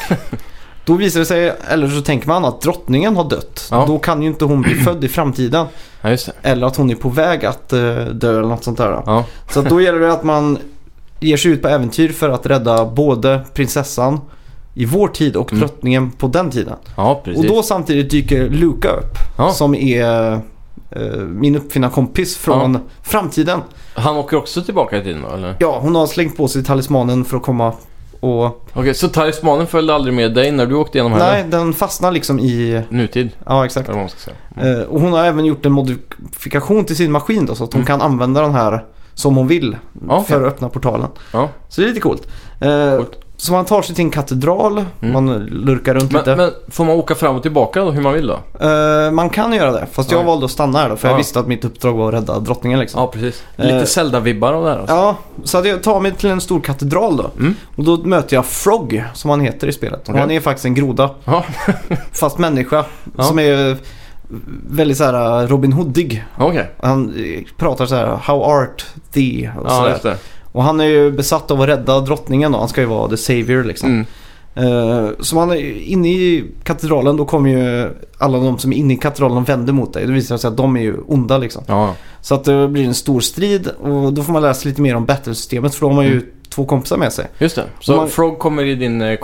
Då visar det sig, eller så tänker man att drottningen har dött.
Ja.
Då kan ju inte hon bli född i framtiden.
Ja, just det.
Eller att hon är på väg att eh, dö eller något sånt där. då.
Ja,
Så att då gäller det att man ger sig ut på äventyr för att rädda både prinsessan i vår tid och
Mm.
drottningen på den tiden.
ja precis.
Och då samtidigt dyker Luca upp.
ja.
Som är eh, min uppfinnarkompis från framtiden.
Han åker också tillbaka i tiden då, eller?
Ja, hon har slängt på sig talismanen för att komma och...
Okej, så talismanen följde aldrig med dig när du åkte igenom här?
Nej, den fastnar liksom i...
Nutid,
Ja, exakt.
eller vad man ska säga.
Eh, och hon har även gjort en modifikation till sin maskin då, så att hon
Mm.
kan använda den här som hon vill
Okej.
för att öppna portalen.
Ja.
Så det är lite coolt. Eh,
Coolt.
Så man tar sig till en katedral,
Mm.
man lurkar runt lite.
Men, men får man åka fram och tillbaka då, hur man vill då?
Eh, man kan göra det, fast jag
Ja.
valde att stanna här då för
Ja.
jag visste att mitt uppdrag var att rädda drottningen liksom.
Ja, precis.
Eh,
Lite Zelda-vibbar av det här alltså.
Ja, så att jag tar mig till en stor katedral då.
Mm.
Och då möter jag Frog, som han heter i spelet. Och
Okej.
han är faktiskt en groda,
Ja,
fast människa.
Ja.
Som är eh, väldigt så här Robin Hoodig.
okej.
Han eh, pratar så här, how art thee? Och, så
Ja,
där.
just det.
och han är ju besatt av att rädda drottningen då. Han ska ju vara the savior liksom.
Mm.
Eh, Så man är inne i katedralen då kommer ju alla de som är inne i katedralen vänder mot dig. Det visar sig att de är ju onda liksom.
Ja,
Så att det blir en stor strid och då får man lära sig lite mer om battlesystemet för då har man ju
Mm.
två kompisar med sig.
just det. Så
Om man-
Frog kommer i din eh,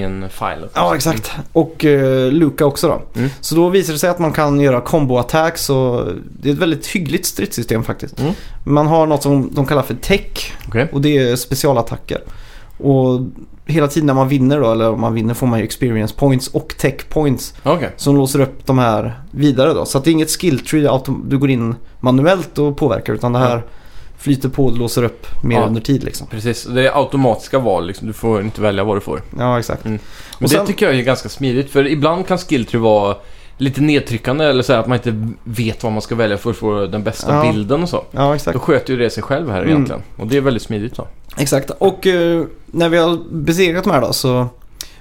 companion-file?
Ja exakt. Och eh, Luca också då.
Mm.
Så då visar det sig att man kan göra combo attacks och det är ett väldigt hyggligt stridssystem faktiskt.
Mm.
Man har något som de kallar för tech
Okej.
och det är specialattacker. Och hela tiden när man vinner då, eller om man vinner får man ju experience points och tech points.
Okej.
som låser upp de här vidare då. Så att det är inget skill tree autom- du går in manuellt och påverkar utan det här flyter på och låser upp mer
Ja.
under tid liksom.
Precis, det är automatiska val liksom. Du får inte välja vad du får.
Ja exakt.
Mm. Men
Och
det
sen-
tycker jag är ganska smidigt för ibland kan skilltree vara lite nedtryckande eller så här att man inte vet vad man ska välja för att få den bästa
Ja.
bilden och så.
Ja
Då
exakt.
sköter ju det sig själv här
Mm.
egentligen. Och det är väldigt smidigt då.
Exakt. Och eh, när vi har besegrat de här då så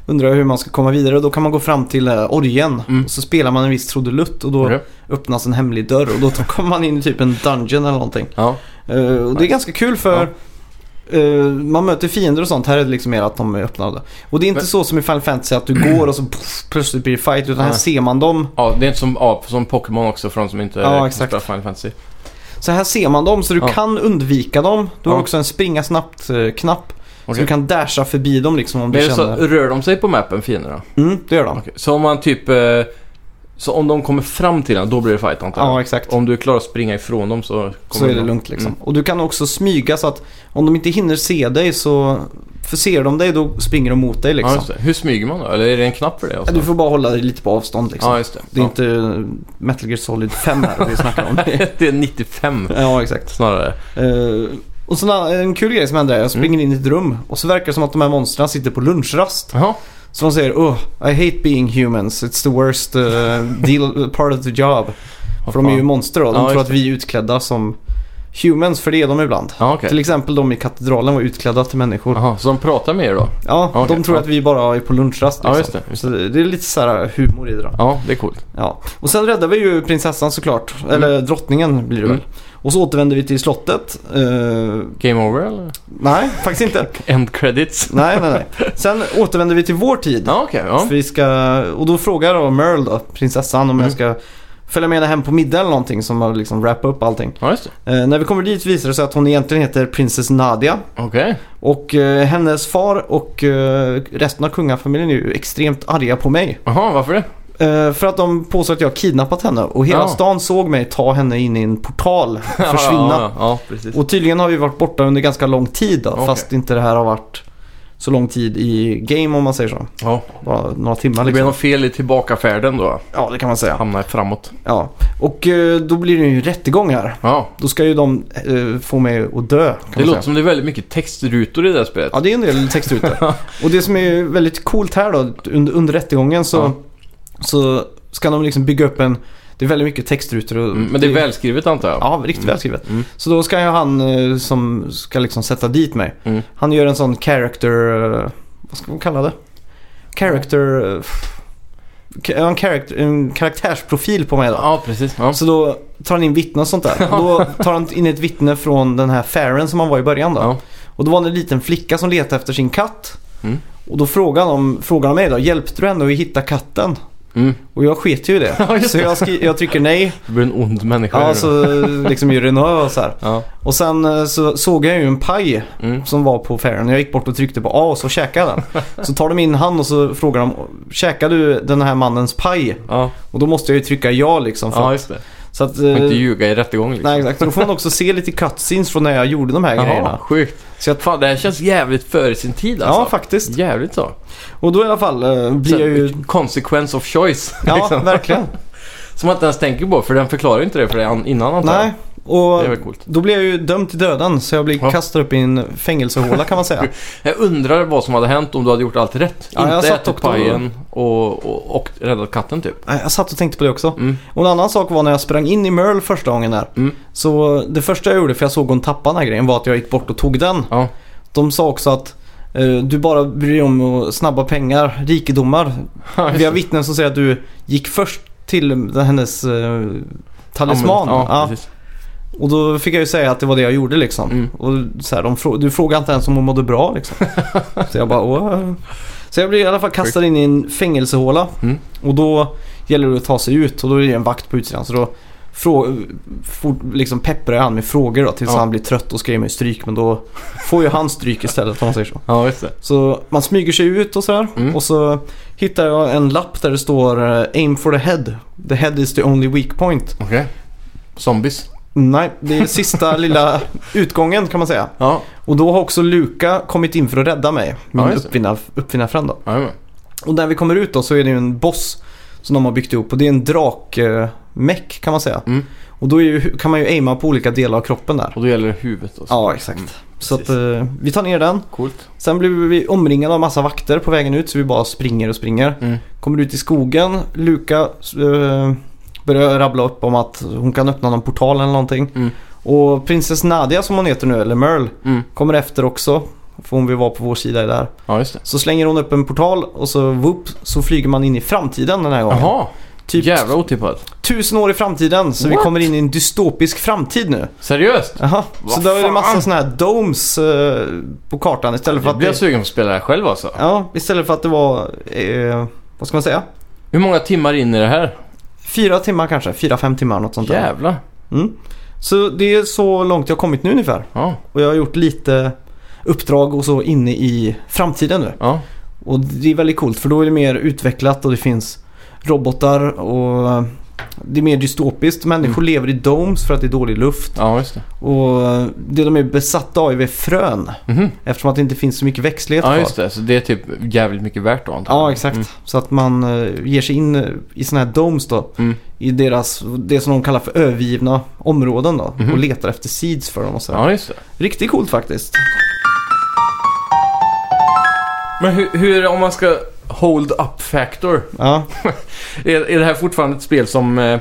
undrar jag hur man ska komma vidare. Då kan man gå fram till eh, orgen
Mm.
och så spelar man en viss trudelutt och då
Okej.
öppnas en hemlig dörr och då kommer man in i typ en dungeon eller någonting.
Ja.
Eh, och det är ganska kul för eh, man möter fiender och sånt. Här är det liksom mer att de är öppnade. Och det är inte
Men-
så som i Final Fantasy att du går och så pff, plötsligt blir det fight. Utan här
Nej.
ser man dem.
ja, det är inte som, ja, som Pokémon också för de som inte
Ja,
kan
exakt.
spela Final Fantasy.
Så här ser man dem så du
Ja.
kan undvika dem. Du har
Ja.
också en springa snabbt-knapp. Så
Okej.
du kan dasha förbi dem liksom om
Men
du
är det så,
känner...
rör de sig på mappen fienderna?
Mm, det gör de.
Okej. Så om man typ... eh, Så om de kommer fram till den, då blir det fight antar jag?
Ja, exakt.
Om du klarar att springa ifrån dem så kommer
Så är det
de-
lugnt liksom.
Mm.
Och du kan också smyga så att om de inte hinner se dig så... För ser de dig då springer de mot dig liksom.
Ja, just det. Hur smyger man då? Eller är det en knapp för det? Alltså?
du får bara hålla dig lite på avstånd liksom.
Ja, just det.
Det är
ja.
inte Metal Gear Solid 5 här vi snackar om.
det är 95
ja, exakt.
snarare.
Eh, och så
Mm.
en- en kul grej som händer är att jag springer in i ett rum och så verkar det som att de här monstren sitter på lunchrast.
Jaha,
Som säger oh, I hate being humans, it's the worst eh, deal, part of the job. För
Vad
de är ju
fan.
monster då. De
Ja,
tror
just
att vi är utklädda som humans, för det är de ibland.
Ja, okej.
Till exempel de i katedralen var utklädda till människor.
Jaha, så de pratar med er då?
Ja,
Ja, okej.
de tror
Ja.
att vi bara är på lunchrast liksom.
Ja, just det. Just
Så det det är lite så här humor i det då.
Ja, det är coolt.
Ja. Och sen räddar vi ju prinsessan såklart. Eller drottningen blir det
Mm.
väl. Och så återvänder vi till slottet. Eh,
Game over eller?
nej, faktiskt inte.
End credits?
Nej, nej, nej. Sen återvänder vi till vår tid.
Ja, okej.
För Vi ska, och då frågar då Merle då, prinsessan, om
Mm.
jag ska följa med henne hem på middag eller någonting som har liksom wrap upp allting.
ja. ja, just det.
Eh, när vi kommer dit visar det sig att hon egentligen heter prinsess Nadia.
Okej.
Och eh, hennes far och eh, resten av kungafamiljen är ju extremt arga på mig.
Jaha, varför det?
Eh, för att de påstår att jag har kidnappat henne och hela
Ja.
stan såg mig ta henne in i en portal och
Ja,
försvinna.
ja, ja, precis.
Och tydligen har vi varit borta under ganska lång tid då,
Okej.
fast inte det här har varit så lång tid i game om man säger så.
Ja.
Bara några timmar
Det blev
liksom.
något fel i tillbakafärden då.
Ja, det kan man säga.
Hamnar framåt.
Ja. Och eh, då blir det ju rättegång här.
Ja.
Då ska ju de eh, få mig att dö. Kan
Det
man
låter
säga.
som det är väldigt mycket textrutor i det här spelet.
Ja, det är en del texter ute. Och det som är väldigt coolt här då, under, under rättegången så,
Ja.
så ska de liksom bygga upp en... Det är väldigt mycket textrutor och...
Mm, Men det är välskrivet antar jag?
Ja, riktigt välskrivet.
Mm.
Så då ska ju han eh, som ska liksom sätta dit mig.
Mm.
Han gör en sån character... eh, Vad ska man kalla det? Character... eh, f- ka- En, character, en karaktärsprofil på mig då.
Ja, precis. Ja.
Så då tar han in vittnen och sånt där. Och då tar han in ett vittne från den här fären som han var i början då.
Ja.
Och då var det en liten flicka som letade efter sin katt.
Mm.
Och då frågade han, frågade han mig då, hjälpte du henne att hitta katten?
Mm.
Och jag sket ju i det.
Ja, just
så
det.
jag, skri- jag trycker nej.
Du blir en ond människa.
Ja,
gör du.
så liksom gör en ö och så här.
ja.
Och sen eh, så såg jag ju en paj
Mm.
som var på färjan. Jag gick bort och tryckte på A och så käkade jag den. Så tar de in han och så frågar de Käkar du den här mannens paj?
Ja.
Och då måste jag ju trycka ja liksom. För
ja,
att,
just det.
så att,
Man
eh,
kan inte ljuga i rättegång liksom.
nej, exakt. Då får man också se lite cutscenes från när jag gjorde de här
Jaha,
grejerna.
sjukt.
Så jag-
Fan, det här känns jävligt före sin tid alltså.
Ja, faktiskt.
Jävligt så.
Och då i alla fall eh, blir
Sen,
jag ju...
Consequence of choice.
Ja,
liksom.
verkligen.
Som man inte ens tänker på, för den förklarar inte det för dig an- innan antar jag.
Nej. Och
Det är väl coolt.
då blev jag ju dömd till döden så jag blev
Ja.
kastad upp i en fängelsehåla kan man säga.
Jag undrar vad som hade hänt om du hade gjort allt rätt.
Ja, jag
inte
satt
ätit
och då-
pajen och, och, och räddat katten typ.
Nej, Jag satt och tänkte på det också.
Mm.
Och en annan sak var när jag sprang in i Merle första gången där.
Mm.
Så det första jag gjorde, för jag såg hon tappa den här grejen, var att jag gick bort och tog den.
Ja.
De sa också att eh, du bara bryr dig om att snabba pengar, rikedomar.
Ja, just
Vi har
det.
vittnen som säger att du gick först till den- hennes eh, talisman.
Ja,
Ja.
precis.
Och då fick jag ju säga att det var det jag gjorde liksom.
Mm.
Och så här, de frå- du frågade inte ens om hon mådde bra liksom. så jag bara Åh. Så jag blev i alla fall kastad in i en fängelsehåla.
Mm.
Och då gäller det att ta sig ut och då är det en vakt på utsidan. Så då frå- fort, liksom pepprar jag han med frågor då, tills
Ja.
han blir trött och ska ge mig stryk. Men då får ju han stryk istället om man säger så.
Ja, just det.
Så man smyger sig ut och sådär.
Mm.
Och så hittar jag en lapp där det står eh, Aim for the head. The head is the only weak point.
Okej. Zombies.
Nej, det är sista lilla utgången kan man säga.
Ja,
Och då har också Luca kommit in för att rädda mig. Min
Ja, just det.
uppfinnar, uppfinnarfrän då.
jajamän.
Och när vi kommer ut då så är det ju en boss som de har byggt ihop. Och det är en drakmeck kan man säga.
Mm.
Och då är ju, kan man ju aima på olika delar av kroppen där.
Och då gäller det Mm, huvudet också.
Ja, exakt. Så att, eh, vi tar ner den.
Coolt.
Sen blir vi omringade av massa vakter på vägen ut så vi bara springer och springer.
Mm.
Kommer ut i skogen. Luca eh, börjar rabbla upp om att hon kan öppna någon portal eller någonting.
Mm.
Och prinsess Nadia som hon heter nu, eller Merle,
Mm.
kommer efter också. För hon vill vara på vår sida där.
Ja, just det.
Så slänger hon upp en portal och så whoop, så flyger man in i framtiden den här gången.
Jaha,
Typ
jävla otippat.
tusen år i framtiden. Så vi
What?
kommer in i en dystopisk framtid nu.
Seriöst?
Jaha. Så
Vad
då är det
fan?
massa sådana här domes eh, på kartan istället för
Jag
att
blir jag
det,
sugen på att spela det här själv alltså.
Ja, istället för att det var... Eh, vad ska man säga?
Hur många timmar in i det här?
Fyra timmar kanske. Fyra, fem timmar något sånt där.
Jävlar.
Mm. Så det är så långt jag kommit nu ungefär.
Ja,
Och jag har gjort lite uppdrag och så inne i framtiden nu.
ja.
Och det är väldigt coolt för då är det mer utvecklat och det finns robotar och eh, det är mer dystopiskt. Människor
Mm.
lever i domes för att det är dålig luft.
Ja, just det.
Och eh, det de är besatta av är frön
Mhm.
eftersom att det inte finns så mycket växtlighet
Ja,
kvar.
just det. Mm. Så det är typ jävligt mycket värt då antar
Ja,
jag.
exakt. Så att man eh, ger sig in eh, i sådana här domes då.
Mm.
I deras, det som de kallar för övergivna områden då.
Mhm.
Och letar efter seeds för dem och sådär.
Ja, just det.
Riktigt coolt faktiskt.
Men hur, hur, om man ska Hold Up Factor.
Ja.
Är, är det här fortfarande ett spel som eh,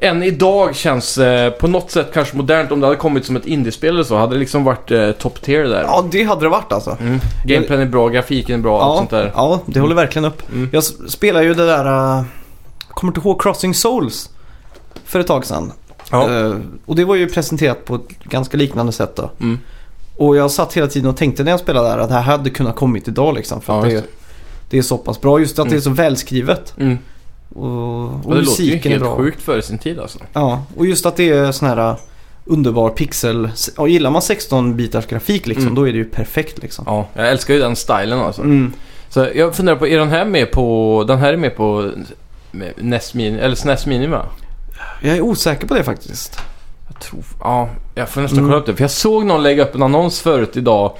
än idag känns eh, på något sätt kanske modernt. Om det hade kommit som ett indiespel eller så hade det liksom varit eh, top tier där.
ja, det hade det varit alltså.
Mm. Gameplayen är bra, grafiken är bra, allt sånt där.
ja, det håller verkligen upp.
Mm.
Jag s- spelar ju det där, äh, kommer inte ihåg, Crossing Souls för ett tag sedan.
Ja.
Eh, och det var ju presenterat på ett ganska liknande sätt då.
Mm.
Och jag satt hela tiden och tänkte när jag spelade där att det här hade kunnat kommit idag liksom. För
Ja,
att det,
just
är- det är så pass bra. Just att det är så välskrivet.
Mm.
Och, och,
Och det låter ju
musiken är bra.
helt sjukt före sin tid alltså.
Ja, och just att det är sån här äh, underbar pixel. Och gillar man 16-bitars grafik liksom,
Mm.
då är det ju perfekt liksom.
Ja, jag älskar ju den stilen alltså.
Mm.
Så jag funderar på, är den här med på... Den här är med på NES Mini, eller SNES Mini va?
Jag är osäker på det faktiskt.
Jag tror... Ja, jag får nästan
Mm.
kolla upp det. För jag såg någon lägga upp en annons förut idag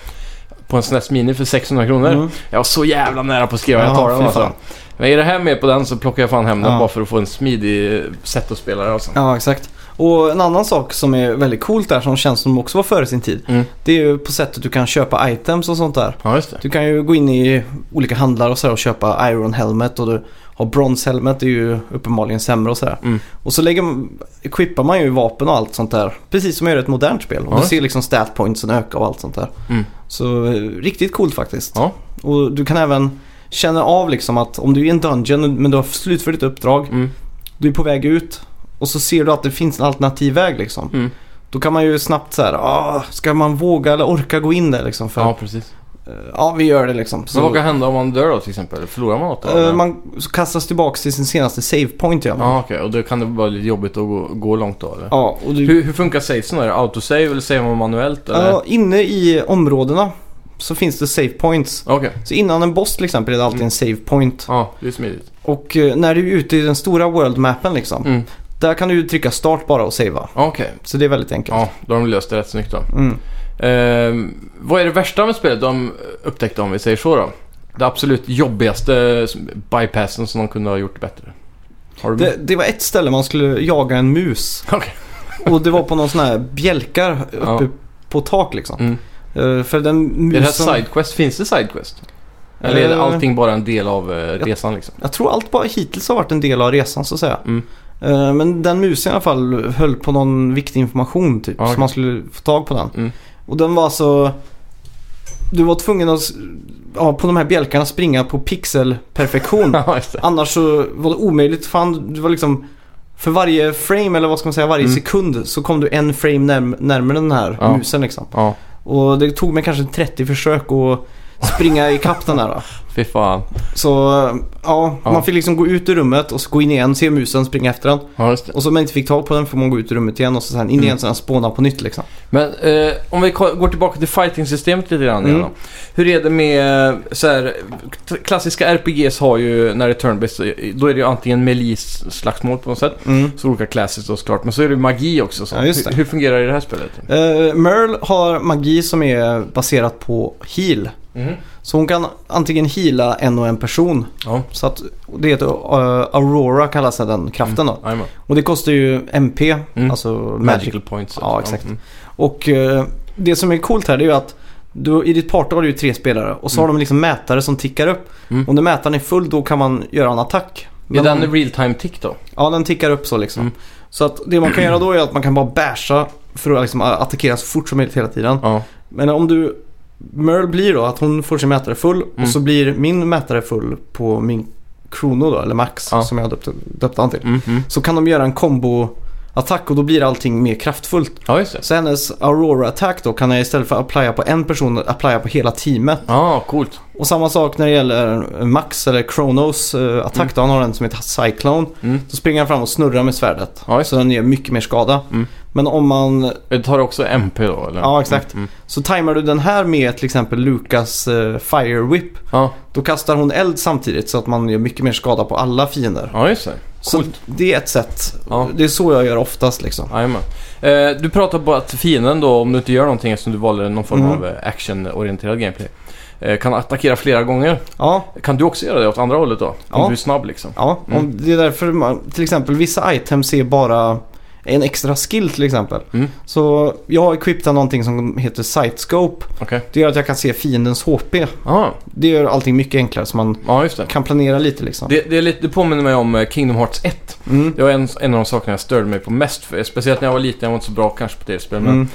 på en SNES Mini för 600 kronor.
Mm.
Jag var så jävla nära på att skriva, jag
Ja,
tar den
fy
alltså.
fan.
Men är det här med på den så plockar jag fan hem den
Ja.
bara för att få en smidig eh, sätt att spela det alltså.
Ja, exakt. Och en annan sak som är väldigt coolt där som känns som också var före sin tid.
Mm.
Det är ju på sättet du kan köpa items och sånt där.
Ja, just det.
Du kan ju gå in i olika handlar och, så här och köpa Iron Helmet och du har Bronze Helmet, det är ju uppenbarligen sämre och sådär.
Mm.
Och så lägger man, equippar man ju vapen och allt sånt där. Precis som man gör i ett modernt spel. Och
Ja.
du ser liksom stat pointsen öka och allt sånt där.
Mm.
Så eh, riktigt coolt faktiskt.
Ja.
Och du kan även känna av liksom att om du är i en dungeon men du har slutfört ditt uppdrag,
Mm.
du är på väg ut och så ser du att det finns en alternativ väg liksom.
Mm.
Då kan man ju snabbt så här, ah, ska man våga eller orka gå in där liksom? För,
Ja,
ja,
precis.
ja vi gör det liksom.
Så vad kan hända om man dör då till exempel? Förlorar man något då?
Eh,
eller?
Man så kastas tillbaka till sin senaste save point gör
Ja,
man. Ja.
okej. Och då kan det vara lite jobbigt att gå, gå långt då eller?
och du,
Hur, hur funkar savesen då? Är det autosave eller savear man manuellt eller?
ja, inne i områdena så finns det save points.
Okej.
Så innan en boss till exempel är det alltid
Mm.
en save point.
Ja, det är smidigt.
Och eh, när du är ute i den stora world mappen liksom.
Mm.
Där kan du ju trycka start bara och savea.
Okej.
Så det är väldigt enkelt.
Ja, då har de löst det rätt snyggt då.
Mm.
Ehm, vad är det värsta med spelet de upptäckte om vi säger så då? Det absolut jobbigaste bypassen som de kunde ha gjort bättre. Har du
Det, det var ett ställe man skulle jaga en mus.
Okej.
Och det var på någon sån här bjälkar uppe
Ja.
på tak liksom.
Mm.
Eh, för den
Är det
musen...
här Sidequest? Finns det Sidequest? Eller är det
Eh,
allting bara en del av eh, resan liksom?
Jag tror allt bara hittills har varit en del av resan så att säga.
Mm.
Eh, Men den musen i alla fall höll på någon viktig information typ.
Ja, okej.
Så man skulle få tag på den.
Mm.
Och den var så... Du var tvungen att s- ja, på de här bjälkarna springa på pixelperfektion.
Ja, just det.
Annars så var det omöjligt. Fan, det var liksom... För varje frame, eller vad ska man säga, varje
Mm.
sekund så kom du en frame närm- närmare den här
Ja.
musen liksom.
Ja,
Och det tog mig kanske 30 försök att springa ikapp den där. va.
fy fan.
Så ja,
Ja.
man fick liksom gå ut ur rummet och så gå in igen, se musen, springa efter den.
Ja, just det.
Och så om man inte fick tag på den får man gå ut ur rummet igen och så sen in igen så den spånar på nytt liksom.
Men eh, om vi ko- går tillbaka till fighting-systemet lite grann
Mm.
igen då. Hur är det med eh, så här, t- klassiska RPGs har ju, när det är turn-based, då är det ju antingen melee-slagsmål på något sätt.
Mm.
Så olika classes då såklart, men så är det ju magi också. Så.
Ja, just det.
Hur, hur fungerar det i det här spelet?
Eh, Merle har magi som är baserat på heal.
Mm.
Så hon kan antingen heala en och en person.
Ja,
Så att det heter eh, Aurora kallas den kraften då.
jajamän.
Och det kostar ju MP,
Mm.
alltså magic.
Magical points.
Ja, exakt.
Mm.
Och eh, det som är coolt här det är ju att du, i ditt party har du ju tre spelare och så har de liksom mätare som tickar upp.
Mm.
Om den mätaren är full då kan man göra en attack.
Är
Men om-
den real time tick då?
Ja, den tickar upp så liksom.
Mm.
Så att det man kan göra då är att man kan bara basha för att liksom attackera så fort som möjligt hela tiden.
Ja.
Men om du... Merle blir då att hon får sin mätare full
Mm.
och så blir min mätare full på min Krono då, eller Max
Ja.
som jag döpte, döpte han till.
Mm. Mm.
Så kan de göra en combo-attack och då blir allting mer kraftfullt.
Ja, just det.
Så hennes Aurora-attack då kan jag istället för att applya på en person, applya på hela teamet.
Ja, ah, coolt.
Och samma sak när det gäller Max eller Kronos eh, attack då. Han har en som heter Cyclone.
Mm.
Så springer han fram och snurrar med svärdet.
Ja, just
så den ger mycket mer skada.
Mm.
Men om man...
Det tar också MP då, eller?
Ja, exakt.
Mm.
Så tajmar du den här med till exempel Lukas eh, Fire Whip.
Ja.
Då kastar hon eld samtidigt så att man gör mycket mer skada på alla fiender.
ja, just det.
Så
Coolt.
det är ett sätt.
Ja.
Det är så jag gör oftast liksom.
Jajamän. Eh, du pratar bara att fienden då, om du inte gör någonting eftersom du valde någon form
Mm.
av eh, actionorienterad gameplay, eh, kan attackera flera gånger.
Ja,
Kan du också göra det åt andra hållet då? Om
Ja.
du är snabb liksom?
ja.
Mm.
Om det är därför man, till exempel vissa items är bara en extra skill till exempel.
Mm.
Så jag har equippat någonting som heter Sightscope.
Okej.
Det gör att jag kan se fiendens HP.
Ah,
Det gör allting mycket enklare så man
ja, just det.
kan planera lite liksom.
Det, det, är lite, det påminner mig om eh, Kingdom Hearts 1.
Mm.
Det var en, en av de sakerna jag störde mig på mest för. Speciellt när jag var liten, jag var inte så bra kanske på tv-spel. Men
Mm.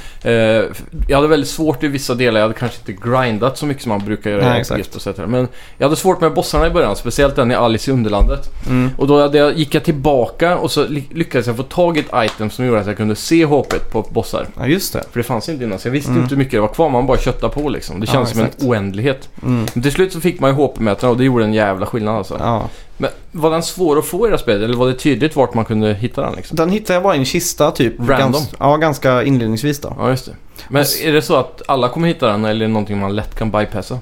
eh, f- jag hade väldigt svårt i vissa delar. Jag hade kanske inte grindat så mycket som man brukar göra
Nej,
i
exakt.
RPG och så vidare. Men jag hade svårt med bossarna i början. Speciellt den i Alice i Underlandet.
Mm.
Och då hade jag, gick jag tillbaka och så ly- lyckades jag få tag i ett item som gjorde att jag kunde se HP på bossar.
Ja, just det.
För det fanns inte innan, så jag visste
Mm.
inte hur mycket det var kvar. Man bara köttade på liksom. Det
Ja,
kändes som
exakt.
en oändlighet.
Mm.
Men till slut så fick man ju HP-mätarna och det gjorde en jävla skillnad alltså.
Ja.
Men var den svår att få i det här spelet? Eller var det tydligt vart man kunde hitta den liksom?
Den hittade jag bara i en kista typ.
Random.
Gans- ja, ganska inledningsvis då.
Ja, just det. Men
Alltså-
är det så att alla kommer hitta den eller är det någonting man lätt kan bypassa?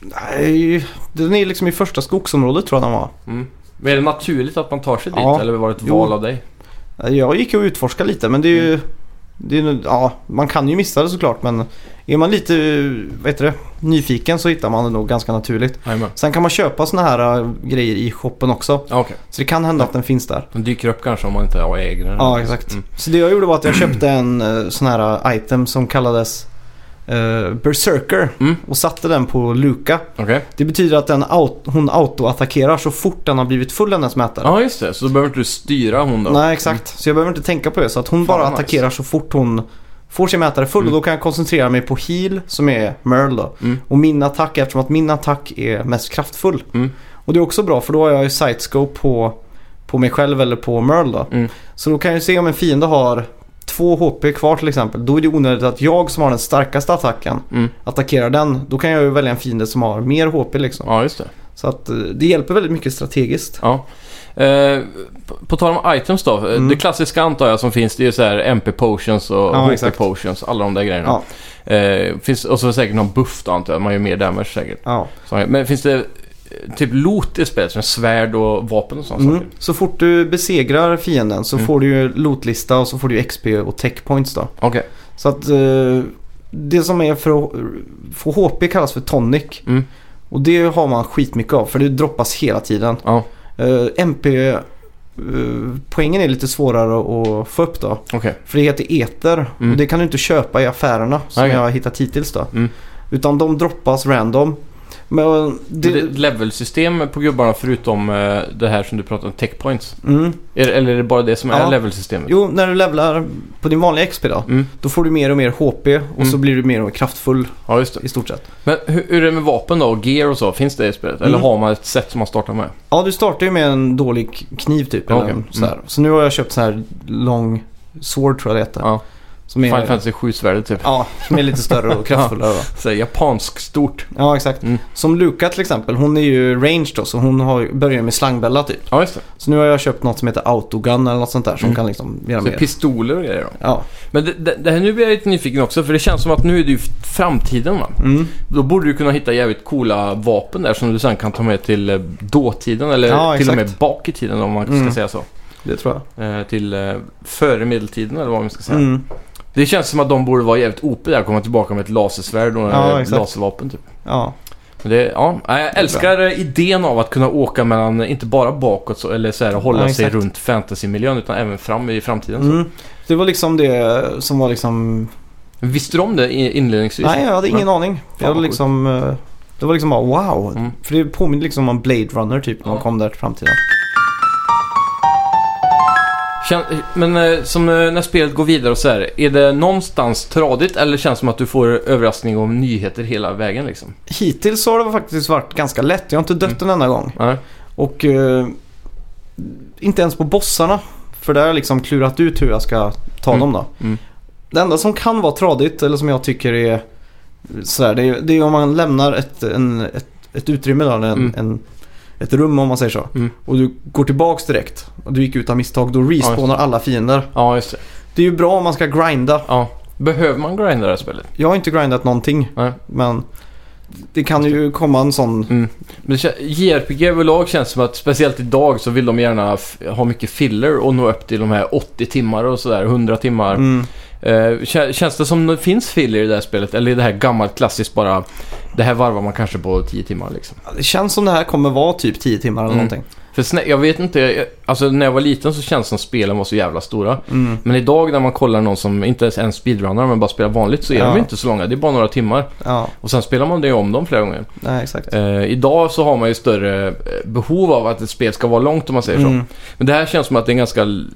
Nej, den är liksom i första skogsområdet tror jag den var.
Mm. Men är det naturligt att man tar sig dit
Ja.
eller var det ett
Jo.
val av dig?
Eh, Jag gick och utforskade lite men det är ju...
Mm.
Det är, ju- ja, man kan ju missa det såklart men är man lite vad heter det, nyfiken så hittar man det nog ganska naturligt.
Jajamän.
Sen kan man köpa såna här äh, grejer i shoppen också.
Ja, okej.
Så det kan hända att den finns där.
Den dyker upp kanske om man inte har äger den.
Ja, exakt.
Mm.
Så det jag gjorde var att jag köpte en äh, sån här item som kallades äh, Berserker
Mm.
och satte den på Luka.
Okej.
Det betyder att den out- hon autoattackerar så fort den har blivit full hennes mätare.
Ja, just det. Så då behöver inte du styra hon då? Mm.
Nej, exakt. Så jag behöver inte tänka på det. Så att hon
Fan,
bara
vad nice.
attackerar så fort hon får sin mätare full.
Mm.
Och då kan jag koncentrera mig på heal som är Merle då.
Mm.
Och min attack eftersom att min attack är mest kraftfull.
Mm.
Och det är också bra för då har jag ju sightscope på, på mig själv eller på Merle då.
Mm.
Så då kan jag ju se om en fiende har två HP kvar till exempel. Då är det onödigt att jag som har den starkaste attacken
Mm.
attackerar den. Då kan jag ju välja en fiende som har mer HP liksom.
Ja, just det.
Så att eh, det hjälper väldigt mycket strategiskt.
Ja. Eh, på, på tal om items då. eh,
Mm.
Det klassiska antar jag som finns det är ju så här MP potions och
Ja,
HP
exakt.
potions. Alla de där grejerna. Eh, finns, och så säkert någon buff då antar jag. Man gör mer damage säkert.
Ja.
Så, men finns det eh, typ loot i spelet? Som svärd och vapen och sånt
Mm.
saker?
Så fort du besegrar fienden så
Mm.
får du ju lootlista och så får du ju XP och tech points då.
Okej.
Så att eh, det som är för att få HP kallas för tonic.
Mm.
Och det har man skitmycket av för det droppas hela tiden.
Ja,
Eh, MP eh, poängen är lite svårare att få upp då.
okej.
För det heter eter
Mm.
och det kan du inte köpa i affärerna som
Okej.
jag har hittat hittills då.
Mm.
Utan de droppas random. Men eh,
Det... det är
det...
ett levelsystem på gubbarna förutom eh, det här som du pratade om, tech points.
Mm.
Är, det- eller är det bara det som
Ja.
är levelsystemet?
Jo, när du levlar på din vanliga XP då.
Mm.
Då får du mer och mer HP och så
Mm.
blir du mer och mer kraftfull
Ja, just det.
i stort sett.
Men hur, hur är det med vapen då? Och gear och så? Finns det i spelet? Eller
Mm.
har man ett sätt som man startar med?
Ja, du startar ju med en dålig kniv typ. Eller
Okej. Mm.
en så, här. så nu har jag köpt så här lång sword tror jag det heter.
Ja.
Som
Final
är,
Fantasy 7-svärdet typ.
ja, som är lite större och kraftfullare. Då.
Så här, japansk stort.
Ja, exakt.
Mm.
Som Luka till exempel. Hon är ju range då, så hon har, ju- börjar med slangbella typ.
Ja, just det.
Så nu har jag köpt något som heter autogun eller något sånt där som
Mm.
kan liksom göra
Så
mer.
pistoler och grejer då.
Ja.
Men det, det, det här, nu blir jag lite nyfiken också för det känns som att nu är det ju framtiden va?
Mm.
Då borde du kunna hitta jävligt coola vapen där som du sen kan ta med till eh, dåtiden eller
Ja,
till och med
exakt.
bak i tiden om man ska
Mm.
säga så.
Det tror jag.
Eh, till eh, före medeltiden eller vad man ska säga.
Mm.
Det känns som att de borde vara jävligt OP där komma tillbaka med ett lasersvärd och
Ja,
ja,
exakt.
laservapen typ.
Ja.
Men Det, ja, nej, jag älskar eh, idén av att kunna åka mellan, eh, inte bara bakåt så, eller så här, hålla
Ja,
sig
exakt.
runt fantasymiljön utan även fram i framtiden. Så.
Mm. Det var liksom det som var liksom
Visste du om det i- inledningsvis?
Nej, jag hade ingen aning. Jag
vad
hade
coolt.
liksom, eh, det var liksom bara wow.
Mm.
För det påminner liksom om Blade Runner typ när
Ja.
de kom där till framtiden.
Kän- Men eh, som eh, när spelet går vidare och så här, är det någonstans tradigt eller känns det som att du får överraskning om nyheter hela vägen liksom?
Hittills så har det faktiskt varit ganska lätt. Jag har inte dött
Mm.
en enda gång.
Nej.
Och eh, inte ens på bossarna. För där har jag liksom klurat ut hur jag ska ta
Mm.
dem då.
Mm.
Det enda som kan vara tradigt eller som jag tycker är sådär. Det är, det är om man lämnar ett, en, ett, ett utrymme då. En,
Mm.
en, ett rum om man säger så.
Mm.
Och du går tillbaks direkt. Och du gick ut av misstag. Då respawnar alla fiender.
Ja, just det.
Det är ju bra om man ska grinda.
Ja. Behöver man grinda det här spelet?
Jag har inte grindat någonting.
Nej.
Men det kan ju komma en sån...
Mm. Men det kän- JRPG överlag känns som att speciellt idag så vill de gärna f- ha mycket filler och nå upp till de här 80 timmar och sådär, 100 timmar.
Mm.
Eh, kä- känns det som det finns filler i det här spelet eller är det här gammalt klassiskt bara det här varvar man kanske på 10 timmar liksom?
Det känns som det här kommer vara typ 10 timmar eller
Mm.
någonting.
För För Sne- jag vet inte, jag- alltså när jag var liten så känns det som spelen var så jävla stora.
Mm.
Men idag när man kollar någon som inte ens speedrunnar men bara spelar vanligt så är
Ja.
de ju inte så långa. Det är bara några timmar.
Ja,
Och sen spelar man det om dem flera gånger.
nej exakt.
Eh, idag så har man ju större eh, behov av att ett spel ska vara långt om man säger så.
Mm.
Men det här känns som att det är en ganska l-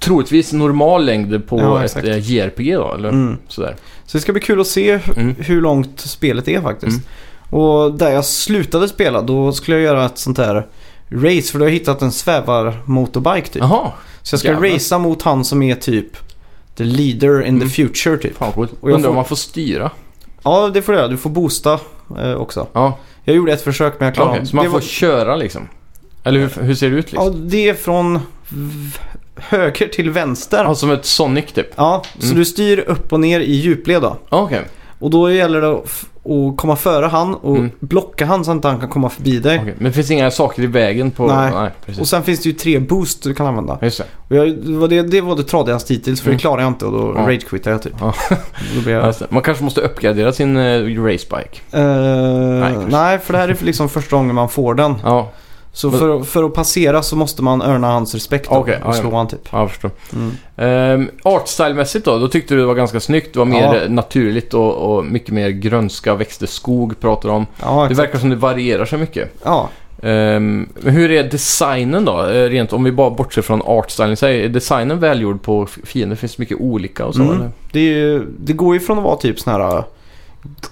troligtvis normal längd på
Ja,
ett
exakt.
eh, JRPG då, eller
Mm.
sådär.
Så det ska bli kul att se hu-
Mm.
hur långt spelet är faktiskt. Och där jag slutade spela då skulle jag göra ett sånt här race för då har jag hittat en svävarmotorbike typ.
Jaha,
Så jag ska
jävlar.
racea mot han som är typ the leader in
Mm.
the future typ.
fan coolt.
Och jag
Undrar om
får-
man får styra.
Ja, det får du göra. Du får boosta eh, också.
Ja,
Jag gjorde ett försök men jag klarade
okej.
av
Så man
det.
får köra liksom? Eller hur, hur ser det ut
ja,
liksom?
det är från v- höger till vänster.
Ja, som ett Sonic typ?
Ja, så
Mm.
du styr upp och ner i djupled då.
Ja, Okej,
Och då gäller det att f- att komma före han och
Mm.
blocka han så att inte han kan komma förbi dig.
okej. men det finns inga saker i vägen på...
Nej.
precis.
Och sen finns det ju tre boost du kan använda.
Just det.
Och jag, det, var det, det var det tradigaste hittills för
Mm.
det klarade jag inte och då
Ja.
ragequittade jag typ.
Ja.
Då blev
Ja,
jag,
just det. Man kanske måste uppgradera sin eh, racebike.
Eh, nej,
Nej, kanske.
för det här är för liksom första gången man får den.
Ja,
Så
Men-
för, för att passera så måste man örna hans respekt då
Okej, ja,
och slå
ja.
han typ.
ja jag förstår.
Mm.
Um, Artstyle-mässigt då, då tyckte du det var ganska snyggt. Det var mer
Ja.
eh, naturligt och, och mycket mer grönska, växter, skog pratar om.
Ja,
Det
exakt.
verkar som det varierar så mycket.
ja.
Ehm, men hur är designen då? Eh, Rent om vi bara bortser från artstylen i sig. Är designen välgjord på f- fiender? Finns det mycket olika och så?
Mm.
Eller?
Det, är ju, det går ju från att vara typ sån här äh,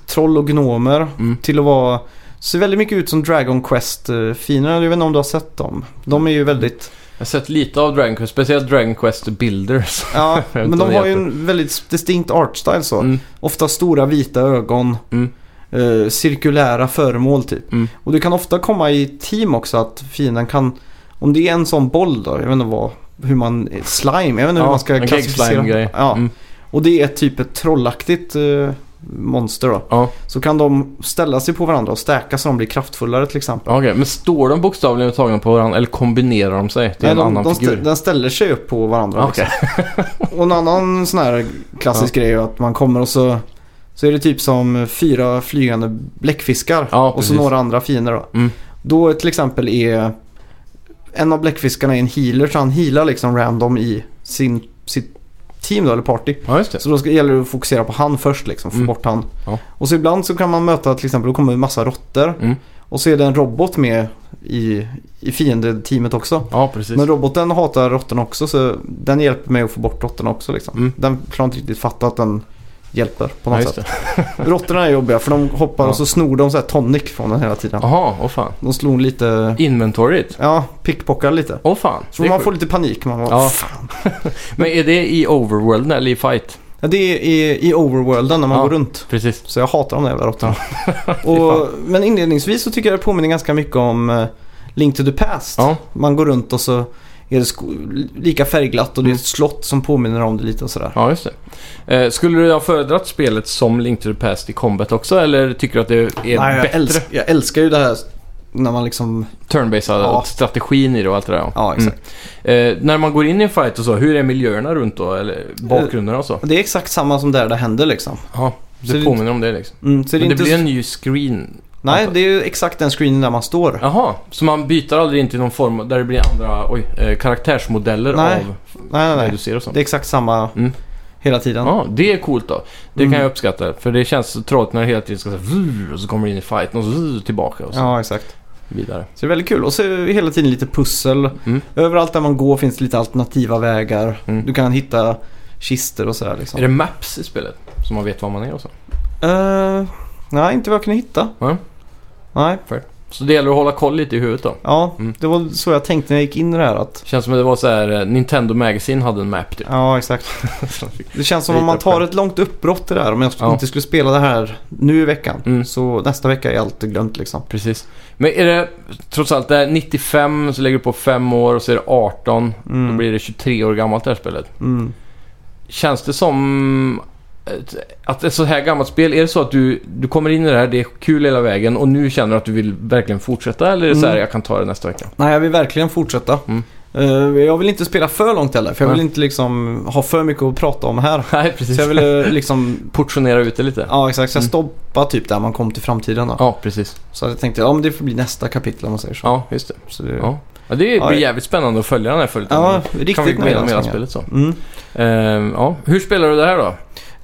troll och gnomer
Mm.
till att vara Ser väldigt mycket ut som Dragon Quest-finerna. Jag vet inte om du har sett dem. De är ju väldigt...
Jag har sett lite av Dragon Quest, speciellt Dragon Quest Builders.
Ja,
Jag vet
men
inte om
de
det
har ju
heter.
en väldigt distinkt artstyle så.
Mm.
Ofta stora vita ögon.
Mm.
eh, cirkulära föremål typ.
Mm.
Och du kan ofta komma i team också att fienden kan... Om det är en sån boll då, jag vet inte vad... Hur man... Slime, jag vet inte hur man ska
en
klassificera.
gag-slime-grej.
Ja,
Mm.
och det är typ ett trollaktigt eh, monster då.
Ja.
Så kan de ställa sig på varandra och stärka så de blir kraftfullare till exempel.
Okej, men står de bokstavligen tagna på varandra eller kombinerar de sig till en
de,
annan
de
figur?
stä- den ställer sig upp på varandra.
Okej.
Liksom. Och en annan sån här klassisk grej är att man kommer och så, så är det typ som fyra flygande bläckfiskar
Ja,
och så
precis.
några andra fiender då.
Mm.
Då till exempel är en av bläckfiskarna är en healer så han healar liksom random i sin, sitt team då, eller party.
Ja, just det.
Så då ska, gäller det att fokusera på han först liksom, få
Mm.
bort han.
Ja.
Och så ibland så kan man möta till exempel, då kommer en massa råttor.
Mm.
Och så är det en robot med i, i fiendeteamet också.
Ja, precis.
Men roboten hatar råttorna också så den hjälper mig att få bort råttorna också liksom.
Mm.
Den klarar inte riktigt fatta att den hjälper på
ja,
något
just
sätt.
det.
Råttorna är jobbiga för de hoppar
Ja.
och så snor de så här tonic från den hela tiden.
Jaha, åh fan.
De slår lite,
Inventoriet?
ja, pickpockar lite.
Åh fan.
Så
Det är
man
sjukt.
får lite panik. Man bara,
Ja.
fan.
Men är det i overworlden eller i fight?
Ja, det är i, i overworlden när man
Ja.
går runt.
Precis.
Så jag hatar de där jävla råttorna.
fan.
och, men inledningsvis så tycker jag det påminner ganska mycket om eh, Link to the Past.
Ja,
Man går runt och så är det sko- lika färgglatt och
Mm.
det är ett slott som påminner om det lite och sådär.
ja just det. Eh, skulle du ha föredragit spelet som Link to the Past i Combat också eller tycker du att det är
Nej, jag,
bättre?
älsk- jag älskar ju det här när man liksom...
Turnbaserad
Ja.
strategin i det och allt det där
Ja, exakt.
Eh, När man går in i en fight och så, hur är miljöerna runt då? Eller bakgrunderna och så?
Det är exakt samma som där det händer liksom.
Ja,
Så
det
det-
påminner om det liksom.
Mm, så
Men
det är
det
inte...
blir en ny screen.
Nej, det är ju exakt den screenen där man står.
Jaha, så man byter aldrig in till någon form där det blir andra oj, eh, karaktärsmodeller
Nej.
av
Nej, nej,
det du
nej.
ser och så?
Det är exakt samma
Mm.
hela tiden.
Ja, det är coolt då. Det kan
Mm.
jag uppskatta. För det känns så tråkigt när det hela tiden ska så här, vrr, och så kommer det in i fighten och så vrr, tillbaka och så
Ja, exakt.
vidare.
Så det är väldigt kul. Och så är det hela tiden lite pussel.
Mm.
Överallt där man går finns det lite alternativa vägar.
Mm.
Du kan hitta kister och sådär
Är
liksom.
det maps i spelet? Så man vet var man är och så.
Eh, nej, inte vad jag kunde hitta.
Nej.
Nej.
Så det gäller att hålla koll lite i huvudet då.
Ja,
Mm.
det var så jag tänkte när jag gick in i det här att...
Känns som att det var så här, eh, Nintendo Magazine hade en map typ.
Ja, exakt. Det känns som om man tar ett långt uppbrott i det här. Om jag
Ja.
inte skulle spela det här nu i veckan.
Mm.
Så nästa vecka är allt glömt liksom.
Precis. Men är det trots allt det här 95 så lägger du på 5 år och så är det 18. Då
Mm.
blir det 23 år gammalt det här spelet.
Mm.
Känns det som ett- att ett så här gammalt spel, är det så att du, du kommer in i det här, det är kul hela vägen och nu känner du att du vill verkligen fortsätta eller är det så här,
Mm.
jag kan ta det nästa vecka?
Nej, jag vill verkligen fortsätta.
Mm.
Eh, jag vill inte spela för långt heller, för jag vill
Nej.
inte liksom ha för mycket att prata om här.
Nej, precis.
Så jag ville liksom,
Portionera ut det lite.
ja exakt, så jag
Mm.
stoppade typ där man kom till framtiden då.
Ja, precis.
Så jag tänkte, ja men det får bli nästa kapitel om man säger så.
Ja, just det.
så det, ja.
Ja. Ja, det
Ja,
blir
det-
jävligt spännande att följa den här följetongen.
ja, riktigt
kan vi gå
nöjd
igenom
än så
hela
länge.
spelet så.
Mm.
Ehm, ja. Hur spelar du det här då?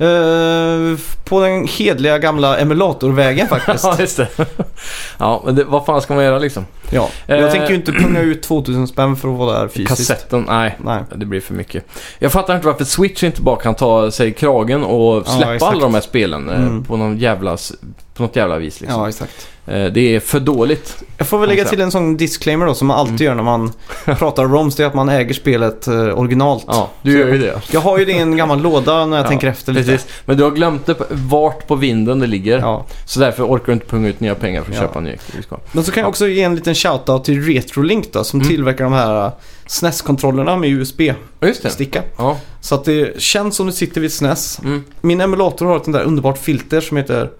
Eh, på den hedliga gamla emulatorvägen faktiskt.
ja, just det. ja, men det, vad fan ska man göra liksom?
ja. Jag
Eh,
tänker ju inte punga ut 2000 spänn för att vara där fysiskt.
Kassetten? Nej.
Nej.
Det blir för mycket. Jag fattar inte varför Switch inte bara kan ta sig i kragen och
Ja,
släppa
exakt.
alla de här spelen eh,
Mm.
på, någon jävla, s- på något jävla vis. Liksom.
Ja, exakt.
Eh, det är för dåligt.
Jag får väl lägga till en sån disclaimer då som man alltid gör när man pratar roms. Det är att man äger spelet eh, originalt.
Ja, du gör ju det.
Jag har ju det i en gammal låda när jag
Ja,
tänker efter lite.
Precis. Men du har glömt det, på- vart på vinden det ligger.
Ja.
Så därför orkar du inte punga ut nya pengar för att
Ja.
köpa en ny Xbox.
Men så kan jag också ge en liten shoutout till Retrolink då som
Mm.
tillverkar de här eh, SNES-kontrollerna med USB-sticka.
Ja, just det. Ja.
Typ. Så att det känns som du sitter vid ett SNES.
Mm.
Min emulator har ett sånt där underbart filter som heter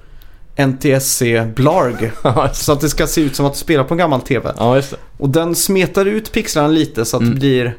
NTSC Blarg. Så att det ska se ut som att du spelar på en gammal TV.
ja, just det.
Och den smetar ut pixlarna lite så att det
Mm.
blir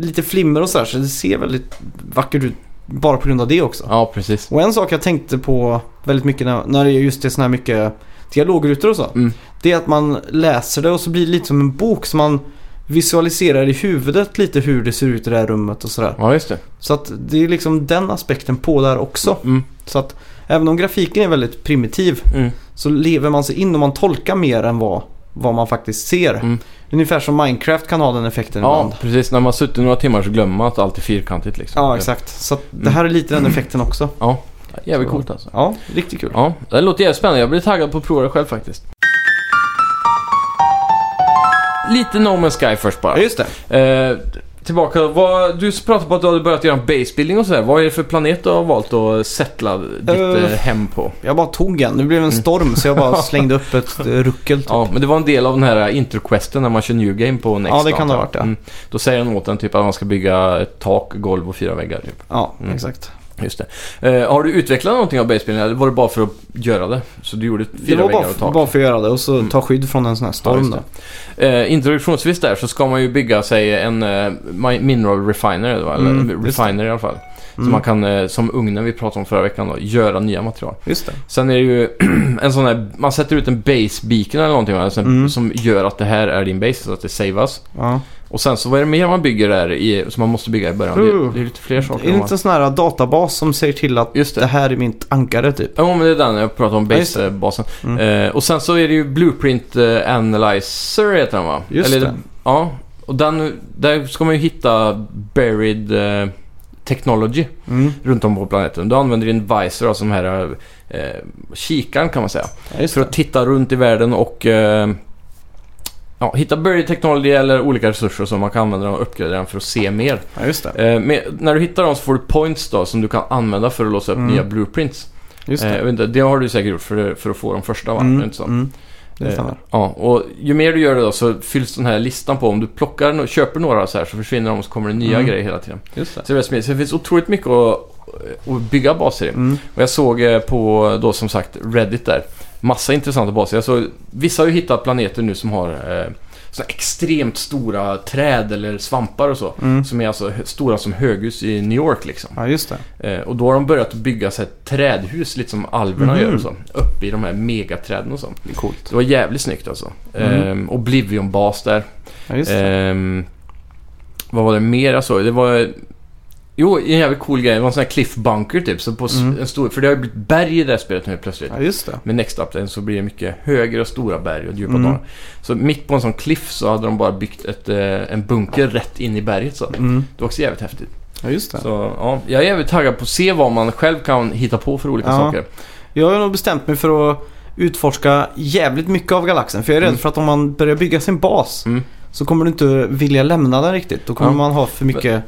lite flimmer och sådär. Så det ser väldigt vackert ut bara på grund av det också.
Ja, precis.
Och en sak jag tänkte på väldigt mycket när, när det är just det sådana här mycket dialogrutor och så.
Mm.
Det är att man läser det och så blir det lite som en bok. Så man visualiserar i huvudet lite hur det ser ut i det här rummet och sådär.
Ja, just det.
Så att det är liksom den aspekten på där också.
Mm.
Så att även om grafiken är väldigt primitiv
Mm.
så lever man sig in och man tolkar mer än vad, vad man faktiskt ser.
Mm.
Ungefär som Minecraft kan ha den effekten
Ja,
ibland.
precis. När man suttit några timmar så glömmer man att allt är fyrkantigt liksom.
Ja, exakt. Så att
Mm.
det här är lite den effekten också.
Jävligt
Så.
coolt alltså.
Ja, riktigt kul.
Ja, det låter jävligt spännande. Jag blir taggad på att prova det själv faktiskt. Lite No Man's Sky först bara.
Ja, just det.
Eh, tillbaka, vad, du pratade på att du hade börjat göra en basebuilding och sådär. Vad är det för planet du har valt att settla ditt
Eh,
eh, hem på?
Jag bara tog en. Det blev en storm så jag bara slängde upp ett eh, ruckel. Typ.
Mm. Ja, men det var en del av den här introquesten när man kör New Game på Next.
Ja, det
då,
kan det ha
antar jag.
varit, ja.
Då säger den åt en typ att man ska bygga ett tak, golv och fyra väggar. Typ.
Ja,
Mm.
exakt.
Just det. Eh, har du utvecklat någonting av basebuilding eller var det bara för att göra det? Så du gjorde
Det
fyra
var
väggar
bara,
och
f-
tak?
bara för att göra det och så ta skydd från en sån här
Ja,
storm
just
då.
det. Eh, introduktionsvis där så ska man ju bygga sig en eh, mi- mineral refiner, eller vad- eller
Mm, just det.
refiner i alla fall. Så
Mm.
man kan, eh, som ugnen vi pratade om förra veckan då, göra nya material.
Just det.
Sen är det ju en sån här, man sätter ut en base beacon eller någonting va? Sen,
Mm.
som gör att det här är din base så att det savas.
Ja.
Och sen så vad är det mer man bygger där i, som man måste bygga i början? Det,
Uh.
det är lite fler
Är
saker.
det
man-
inte en sån här databas som säger till att
Just det.
det här är mitt ankare typ?
Ja, men det är den jag pratade om,
Ja, just
basebasen.
Mm.
Eh, och sen så är det ju Blueprint eh, Analyzer heter den va?
Just
Eller,
det.
Ja, och den, där ska man ju hitta buried eh, technology
Mm.
runt om på planeten. Du använder din visor, alltså den här eh, kikaren kan man säga.
Ja, just
För att titta runt i världen och eh, ja, hitta buried technology eller olika resurser som man kan använda dem och uppgradera dem för att se mer.
Ja, just det.
Eh, men när du hittar dem så får du points då som du kan använda för att låsa upp
Mm.
nya blueprints.
Just
Eh, jag vet inte, det har du säkert gjort för, för att få de första va?
Mm,
Inte sant?
mm. Det
Eh,
stämmer.
Ja, och ju mer du gör det då så fylls den här listan på. Om du plockar, no- köper några så här så försvinner de och så kommer det nya
Mm.
grejer hela tiden.
Just det.
Så det, är väldigt smidigt. så det finns otroligt mycket att, att bygga baser i.
Mm.
Och jag såg eh, på då som sagt Reddit där. Massa intressanta baser. Jag såg, vissa har ju hittat planeter nu som har eh, såna extremt stora träd eller svampar och så.
Mm.
Som är alltså hö- stora som höghus i New York liksom.
Ja, just det.
Eh, och då har de börjat bygga så här trädhus lite som alverna
Mhm.
gör och så. Uppe i de här megaträden och så.
Det är coolt.
Det var jävligt snyggt alltså.
Mm.
Ehm, Oblivion-bas där.
Ja, just det.
Ehm, vad var det mer jag såg? Det var... Jo, en jävligt cool grej. Det var en sån här cliff bunker typ. Så på s-
Mm.
en stor, för det har ju blivit berg i det här spelet nu plötsligt.
Ja, just det.
Med Next Updaten så blir det mycket högre och stora berg och djupa
Mm.
dalar. Så mitt på en sån cliff så hade de bara byggt ett, eh, en bunker rätt in i berget. Så. Det
Mm.
var också jävligt häftigt.
Ja, just det.
Så, ja, jag är jävligt taggad på att se vad man själv kan hitta på för olika
Ja.
saker.
Jag har nog bestämt mig för att utforska jävligt mycket av galaxen. För jag är rädd
Mm.
för att om man börjar bygga sin bas
Mm.
så kommer du inte vilja lämna den riktigt. Då kommer
Ja.
man ha för mycket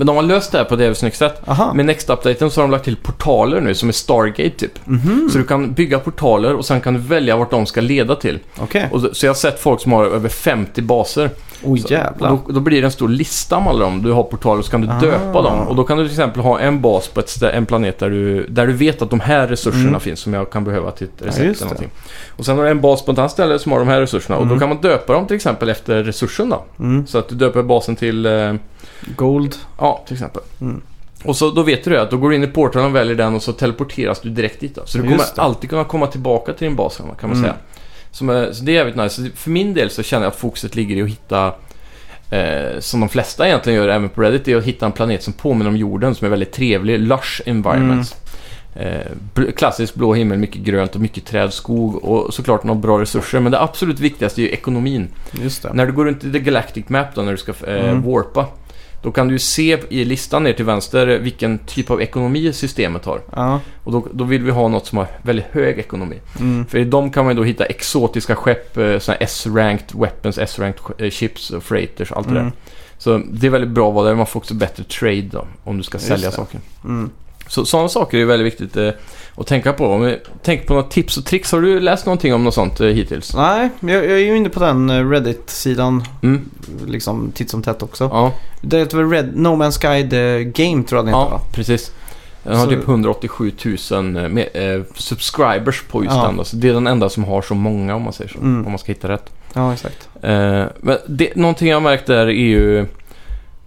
Men de har löst det här på ett jävligt snyggt sätt.
Aha.
Med Next-updaten så har de lagt till portaler nu som är Stargate typ.
Mhm.
Så du kan bygga portaler och sen kan du välja vart de ska leda till.
Okej.
Och så, så jag har sett folk som har över 50 baser.
Oj
Så-
jävlar.
och Då, då blir det en stor lista med alla dem. Du har portaler så kan du
Ah.
döpa dem. Och då kan du till exempel ha en bas på ett stä- en planet där du, där du vet att de här resurserna
Mm.
finns som jag kan behöva till ett
just
recept
det.
eller någonting. Och sen har du en bas på ett annat ställe som har de här resurserna. Och
Mm.
då kan man döpa dem till exempel efter resursen då.
Mm.
Så att du döper basen till, eh,
Gold.
ja till exempel.
Mm.
Och så då vet du det, att då går du in i portalen och väljer den och så teleporteras du direkt dit då. Så du
Just
kommer
det.
alltid kunna komma tillbaka till din bas kan man kan man
Mm.
säga. Som, är- så det är jävligt nice. Så För min del så känner jag att fokuset ligger i att hitta, eh, som de flesta egentligen gör även på Reddit, det är att hitta en planet som påminner om jorden som är väldigt trevlig, lush environments.
Mm.
Eh, bl- klassisk blå himmel, mycket grönt och mycket träd, skog och såklart några bra resurser. Men det absolut viktigaste är ju ekonomin.
Just det.
När du går runt i The Galactic Map då, när du ska eh,
Mm.
warpa. Då kan du ju se i listan ner till vänster vilken typ av ekonomi systemet har.
Ja.
Och då, då vill vi ha något som har väldigt hög ekonomi.
Mm.
För i dem kan man ju då hitta exotiska skepp, eh, såna här S-ranked weapons, S-ranked eh, ships och freighters allt det
Mm.
där. Så det är väldigt bra att vara där. Man får också bättre trade då, om du ska
Just
sälja
det.
saker.
Mm.
Så sådana saker är väldigt viktigt eh, att tänka på. Om vi tänker på några tips och tricks. Har du läst någonting om något sånt eh, hittills?
Nej, men jag, jag är ju inne på den eh, Reddit-sidan
Mm.
liksom titt som tätt också.
Ja,
Det heter väl Red, No Man's Guide eh, Game tror jag den heter
ja
va?
precis. Den har
Så-
typ 187 000 eh, med, eh, subscribers på just
Ja.
den. då. Så det är den enda som har så många om man säger så.
Mm.
Om man ska hitta rätt.
Ja, exakt.
Eh, men det, någonting jag har märkt där är ju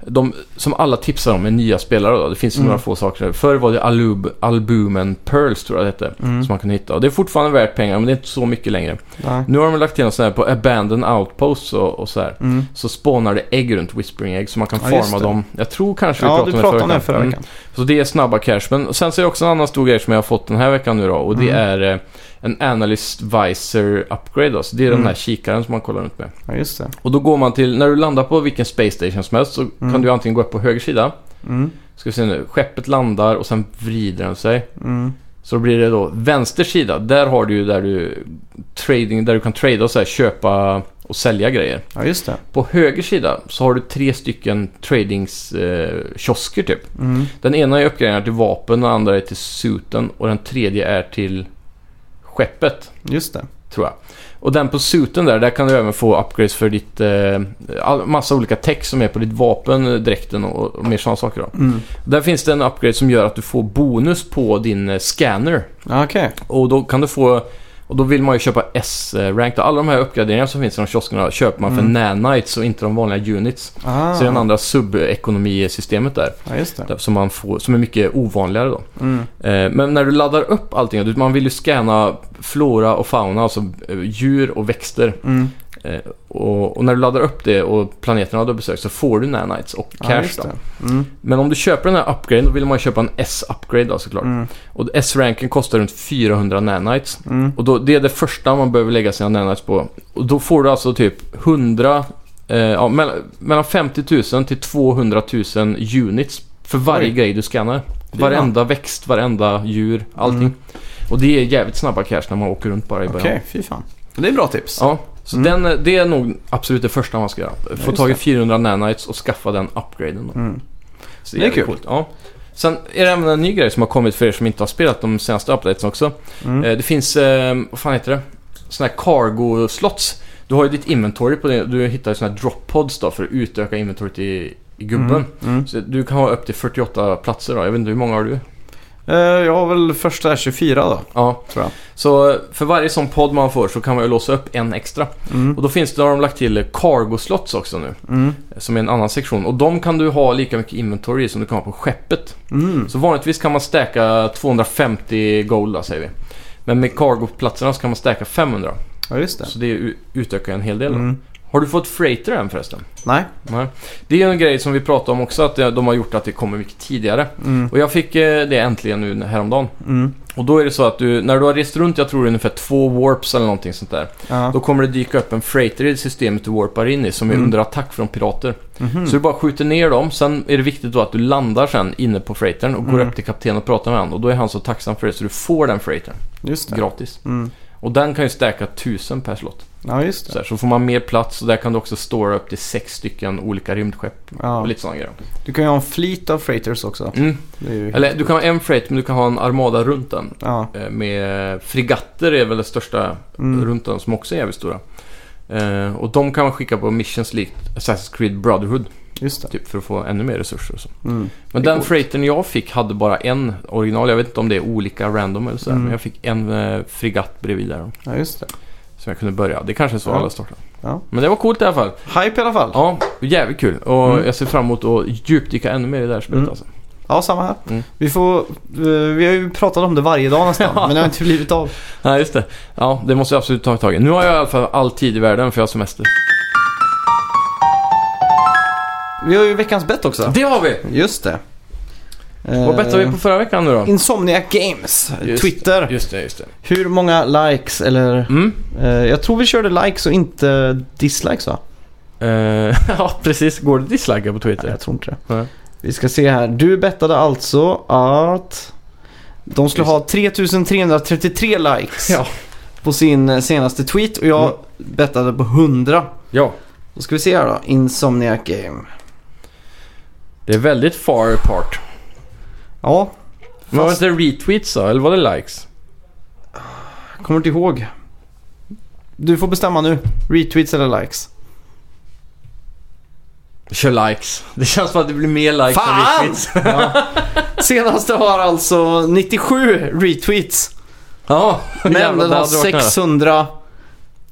de som alla tipsar om är nya spelare då. Det finns ju
Mm.
några få saker. Förr var det Alub, Albumen Pearls tror jag det hette.
Mm.
Som man kunde hitta. Och det är fortfarande värt pengar men det är inte så mycket längre.
Nej.
Nu har de lagt till något sånt här på Abandon Outposts och, och så här.
Mm.
Så spånar det ägg runt Whispering Egg så man kan
Ja, just
farma
det.
dem. Jag tror kanske vi
Ja,
pratade
du
om det
pratade om det förra
Mm.
veckan.
Så det är snabba cash. Men sen så är det också en annan stor grej som jag har fått den här veckan nu då. Och det
Mm.
är eh, en Analyst Visor Upgrade då. Så det är
Mm.
den här kikaren som man kollar runt med.
Ja, just det.
Och då går man till, när du landar på vilken Space Station som helst så
Mm.
kan du antingen gå upp på höger sida.
Mm.
Ska vi se nu, skeppet landar och sen vrider den sig.
Mm.
Så då blir det då vänster sida, där har du ju där du trading, där du kan trada och så här, köpa och sälja grejer.
Ja, just det.
På höger sida så har du tre stycken tradingskiosker eh, kiosker typ.
Mm.
Den ena är uppgraderad till vapen, den andra är till suiten och den tredje är till skeppet.
Just det.
Tror jag. Och den på suiten där, där kan du även få upgrades för ditt... Eh, all, massa olika text som är på ditt vapen, eh, dräkten och, och mer sådana saker då.
Mm.
Där finns det en upgrade som gör att du får bonus på din eh, scanner.
Ja, Okej.
Och då kan du få... Och då vill man ju köpa S-rank. Alla de här uppgraderingarna som finns i de kioskerna köper man för
Mm.
nanites och inte de vanliga units.
Ah.
Så det är Typ. den andra subekonomisystemet där.
Ja, just det.
där som, man får, som är mycket ovanligare då.
Mm.
Eh, Men när du laddar upp allting, du- man vill ju scanna flora och fauna, alltså eh, djur och växter.
Mm.
Eh, Och, och när du laddar upp det och planeterna du har besökt så får du nanites och
Ja,
cash
just
då.
det. Mm.
Men om du köper den här upgraden då vill man ju köpa en S-upgrade då såklart.
Mm.
Och S-ranken kostar runt 400 nanites.
Mm.
Och då, det är det första man behöver lägga sina nanites på. Och då får du alltså typ 100, eh, ja, mellan, mellan 50 000 till 200 000 units för varje
Oj.
grej du scannar.
Fy
Varenda växt, varenda djur, allting.
Mm.
Och det är jävligt snabba cash när man åker runt bara i
Okej,
början.
fy fan. Det är bra tips.
Ja, så
Mm.
den, eh, det är nog absolut det första man ska göra. Få
just
tag i
det.
400 nanites och skaffa den upgraden då.
Mm.
Så
Det är
jävligt
kul.
coolt. Ja. Sen är det även en ny grej som har kommit för er som inte har spelat de senaste updatesen också.
Mm.
Eh, Det finns, eh, vad fan heter det? Sådana här cargo slots. Du har ju ditt inventory på det. Du hittar sådana här drop pods då för att utöka inventoriet i, i gubben.
Mm. Mm.
Så du kan ha upp till 48 platser då. Jag vet inte, hur många har du?
Eh, jag har väl första 24 då,
Ja,
tror jag.
så eh, för varje sån podd man får så kan man ju låsa upp en extra.
Mm.
Och då finns det, har de lagt till eh, cargo slots också nu.
Mm.
eh, Som är en annan sektion. Och de kan du ha lika mycket inventory i som du kan ha på skeppet.
Mm.
Så vanligtvis kan man stacka 250 gold då, säger vi. Men med cargo-platserna så kan man stacka 500.
Ja, just det.
Så det u- utökar en hel del. då.
Mm.
Har du fått freighter än förresten?
Nej.
Nej. Det är en grej som vi pratade om också, att det- de har gjort att det kommer mycket tidigare.
Mm.
Och jag fick eh, det äntligen nu häromdagen.
Mm.
Och då är det så att du, när du har rest runt, jag tror det är ungefär två warps eller någonting sånt där.
Ja.
Då kommer det dyka upp en freighter i systemet du warpar in i som är
Mm.
under attack från pirater.
Mhm.
Så du bara skjuter ner dem, sen är det viktigt då att du landar sen inne på freightern och går
Mm.
upp till kaptenen och pratar med honom. Och då är han så tacksam för det så du får den freightern
Just det.
gratis.
Mm.
Och den kan ju stärka 1000 per slott.
Ja, just
Så,
det.
här, så får man mer plats och där kan du också stora upp till sex stycken olika rymdskepp
Ja.
och lite sådana grejer.
Du kan ju ha en fleet av freighters också.
Mm.
Det är ju...
Eller du kan ha en freight men du kan ha en armada runt den.
Ja.
Eh, Med frigatter är väl det största
Mm.
runt den som också är jävligt stora. Eh, och de kan man skicka på missions likt Assassin's Creed Brotherhood.
Just det.
Typ för att få ännu mer resurser och så.
Mm.
Men
Det är
den
coolt.
freighten jag fick hade bara en original. Jag vet inte om det är olika random eller så. här,
Mm.
Men jag fick en eh, fregatt bredvid där. då,
Ja, just det.
Som jag kunde börja. Det kanske är så
Ja.
alla startar.
Ja.
Men det var coolt i alla fall.
Hype i alla fall. Ja,
Ja, jävligt kul. Och
Mm.
jag ser fram emot att djupdyka ännu mer i det här spelet
Mm.
alltså.
samma här.
Mm.
Vi får... eh, Vi har ju pratat om det varje dag nästan, men det har inte blivit av.
Nej, just det. Ja, det måste jag absolut ta tag i. Nu har jag i alla fall all tid i världen för jag har semester.
Vi har ju veckans bett också.
Det har vi!
Just det. Eh,
Vad bettade vi på förra veckan nu då?
Insomnia Games,
Just-
Twitter.
Just det, just det.
Hur många likes eller...
Mm.
Eh, jag tror vi körde likes och inte dislikes va?
Eh, ja, precis. Går det att dislika på
Nej,
Twitter?
jag tror inte det.
Nej.
Vi ska se här. Du bettade alltså att de skulle ha 3333 likes
Ja. Mm.
på sin eh, senaste tweet och jag bettade på 100.
Ja.
Då ska vi se här då. Insomniac Game.
Det är väldigt far apart.
Ja,
Men var det inte retweets då? Eller var det likes?
jag kommer inte ihåg. Du får bestämma nu. Retweets eller likes.
Kör likes. Det känns som att det blir mer likes än
Fan!
retweets.
Ja. Senaste har alltså 97 retweets.
Ja,
Men
jävlar,
den
det
har
hade varit nära.
600...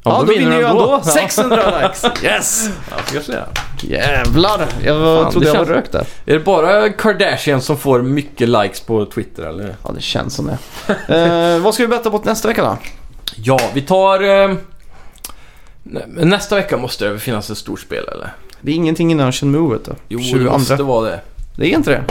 Ja, då, vinner jag ändå. 600 likes. Yes!
Ja, jag ska säga.
Jävlar! Jag
Fan,
trodde
det
jag var
känns-
rökt där.
Är det bara Kardashian som får mycket likes på Twitter eller?
Ja, det känns som det. eh, vad ska vi betta på nästa vecka då?
Ja, vi tar... Eh, nä- nästa vecka måste det väl finnas ett stort spel eller?
Det är ingenting innan Shenmue vet du.
Jo,
22.
det måste vara det.
Det är inte det.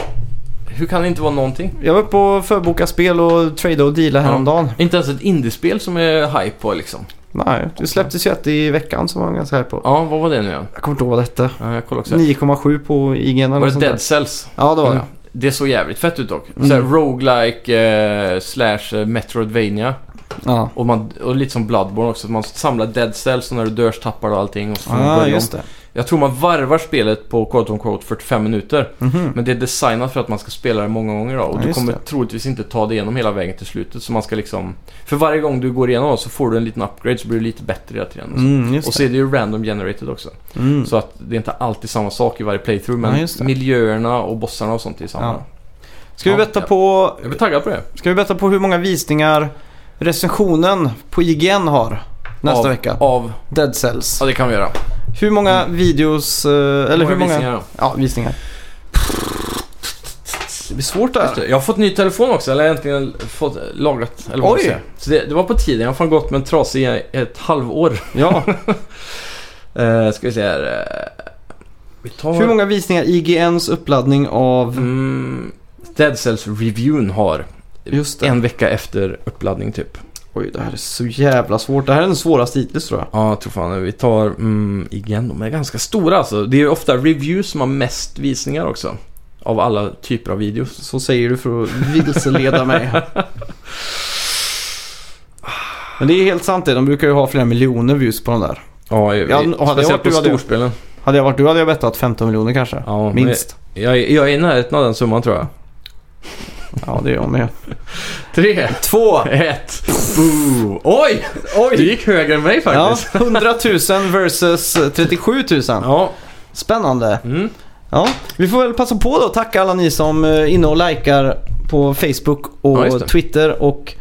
Hur kan det inte vara någonting?
Jag var uppe och förboka spel och trade och deala häromdagen.
Inte ens ett indiespel som är hype på liksom.
Nej, det släpptes ju ett i veckan som var ganska här på.
Ja, vad var det nu igen?
Jag kommer inte ihåg vad det hette.
Ja, jag kollar också. här.
9,7 på IGN eller
Var
något
det
sånt där.
Dead Cells?
Ja, Mm. det var
Mm.
det.
Det såg jävligt fett ut dock. Såhär roguelike eh, slash eh, Metroidvania.
Ja,
Och, man, och lite som Bloodborne också. Man samlar Dead Cells och när du dör så tappar du allting och så får du
ah,
börja om.
just det.
Jag tror man varvar spelet på quote on quote 45 minuter.
Mhm.
Men det är designat för att man ska spela det många gånger då, och
Ja,
du
Ah, just
kommer
det.
troligtvis inte ta dig igenom hela vägen till slutet. Så man ska liksom... För varje gång du går igenom så får du en liten upgrade så blir du lite bättre hela tiden. och så.
Mm,
Och
just
så är det ju random generated också.
det. Mm.
Så att det är inte alltid samma sak i varje playthrough
Ja,
men
just det.
miljöerna och bossarna och sånt är samma.
Ja. Ska vi
Ja,
betta
ja.
på...
Jag blir taggad på det.
Ska vi betta på hur många visningar recensionen på IGN har nästa
av,
vecka?
Av...
Dead Cells.
Ja, det kan vi göra.
Hur många videos, eh, eller hur många...
Mm. visningar då?
Ja, visningar. Det blir svårt det
Just
här.
det. Jag har fått ny telefon också, eller äntligen fått eh, lagrat. Eller vad man
Oj.
säger. Så det, det var på tiden, jag har fan gått med en trasig i ett halvår.
Ja.
Uh, ska vi se här. eh, vi tar...
Hur många visningar IGNs uppladdning av...
Mm, Dead Cells reviewn har.
Just det.
En vecka efter uppladdning typ.
Oj, det här är så jävla svårt. Det här är den svåraste hittills tror jag.
Ja, jag tror fan det. Vi tar mm, igen. De är ganska stora alltså. Det är ju ofta reviews som har mest visningar också. Av alla typer av videos.
Så säger du för att vilseleda mig. Men det är helt sant det. De brukar ju ha flera miljoner views på de där.
Ja, jag,
Ja, och hade jag varit
speciellt
du
på
hade jag-
storspelen.
Hade jag varit du hade jag bettat 15 miljoner kanske.
Ja, men-
Minst.
Jag, är- jag är i närheten av den summan tror jag.
Ja, det är jag med.
Tre,
Två!
ett, boo. Oj! Oj! Du gick högre än mig
Ja,
faktiskt.
100 000 versus 37 000.
Ja.
Spännande.
Mm.
Ja, vi får väl passa på då att tacka alla ni som eh, är inne och likar på Facebook
Ja,
och
just det.
Twitter och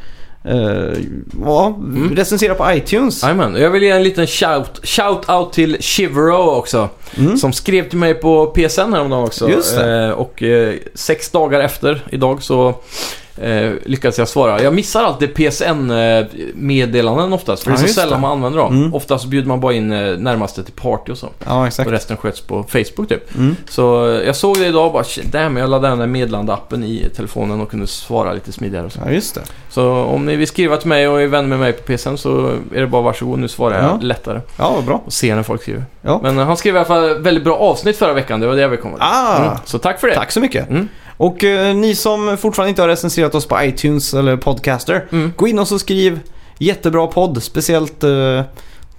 eh, ja,
Mm.
recensera på iTunes.
Jajamän. Jag vill ge en liten shout, shout out till Shivero också.
Mm.
Som skrev till mig på PSN häromdagen också.
Just det.
Eh, och eh, sex dagar efter idag så eh, lyckades jag svara. Jag missar alltid PSN-meddelanden eh, oftast. För
Ja,
det är så
just
sällan
det.
man använder dem.
Mm.
Oftast bjuder man bara in eh, närmaste till party och så.
Ja,
Och
exakt.
resten sköts på Facebook typ.
Mm.
Så eh, jag såg det idag och bara shit, damn, jag laddade den där meddelandeappen i telefonen och kunde svara lite smidigare och så.
Ja, just det.
Så om ni vill skriva till mig och är vän med mig på PSN så är det bara varsågod, nu svarar jag
Ja.
lättare.
Ja, vad bra.
Och ser när folk skriver.
Ja.
Men eh, han skrev i alla fall ett väldigt bra avsnitt förra veckan, det var det jag ville komma till.
Ah,
Mm. Så tack för det.
Tack så mycket.
Mm.
Och eh, ni som fortfarande inte har recenserat oss på iTunes eller Podcaster,
Mm.
gå in och så skriv Jättebra podd, speciellt eh,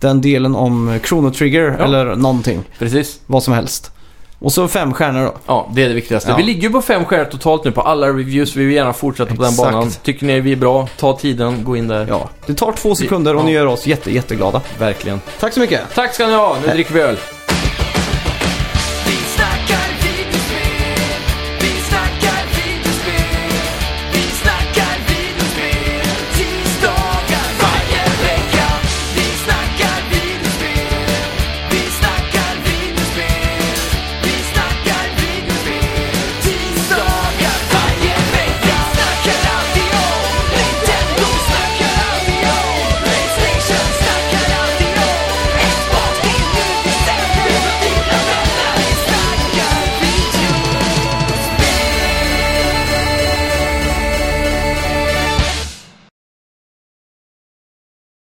den delen om Chrono Trigger
Ja.
eller någonting.
Precis.
Vad som helst. Och så fem stjärnor då.
Ja, det är det viktigaste.
Ja.
Vi ligger ju på fem stjärnor totalt nu på alla reviews. Vi vill gärna fortsätta på den
Exakt.
banan. Tycker ni vi är bra, ta tiden, gå in där.
Ja, det tar två sekunder och ni gör oss jätte, jätteglada.
Verkligen.
Tack så mycket!
Tack ska ni ha, nu dricker vi öl.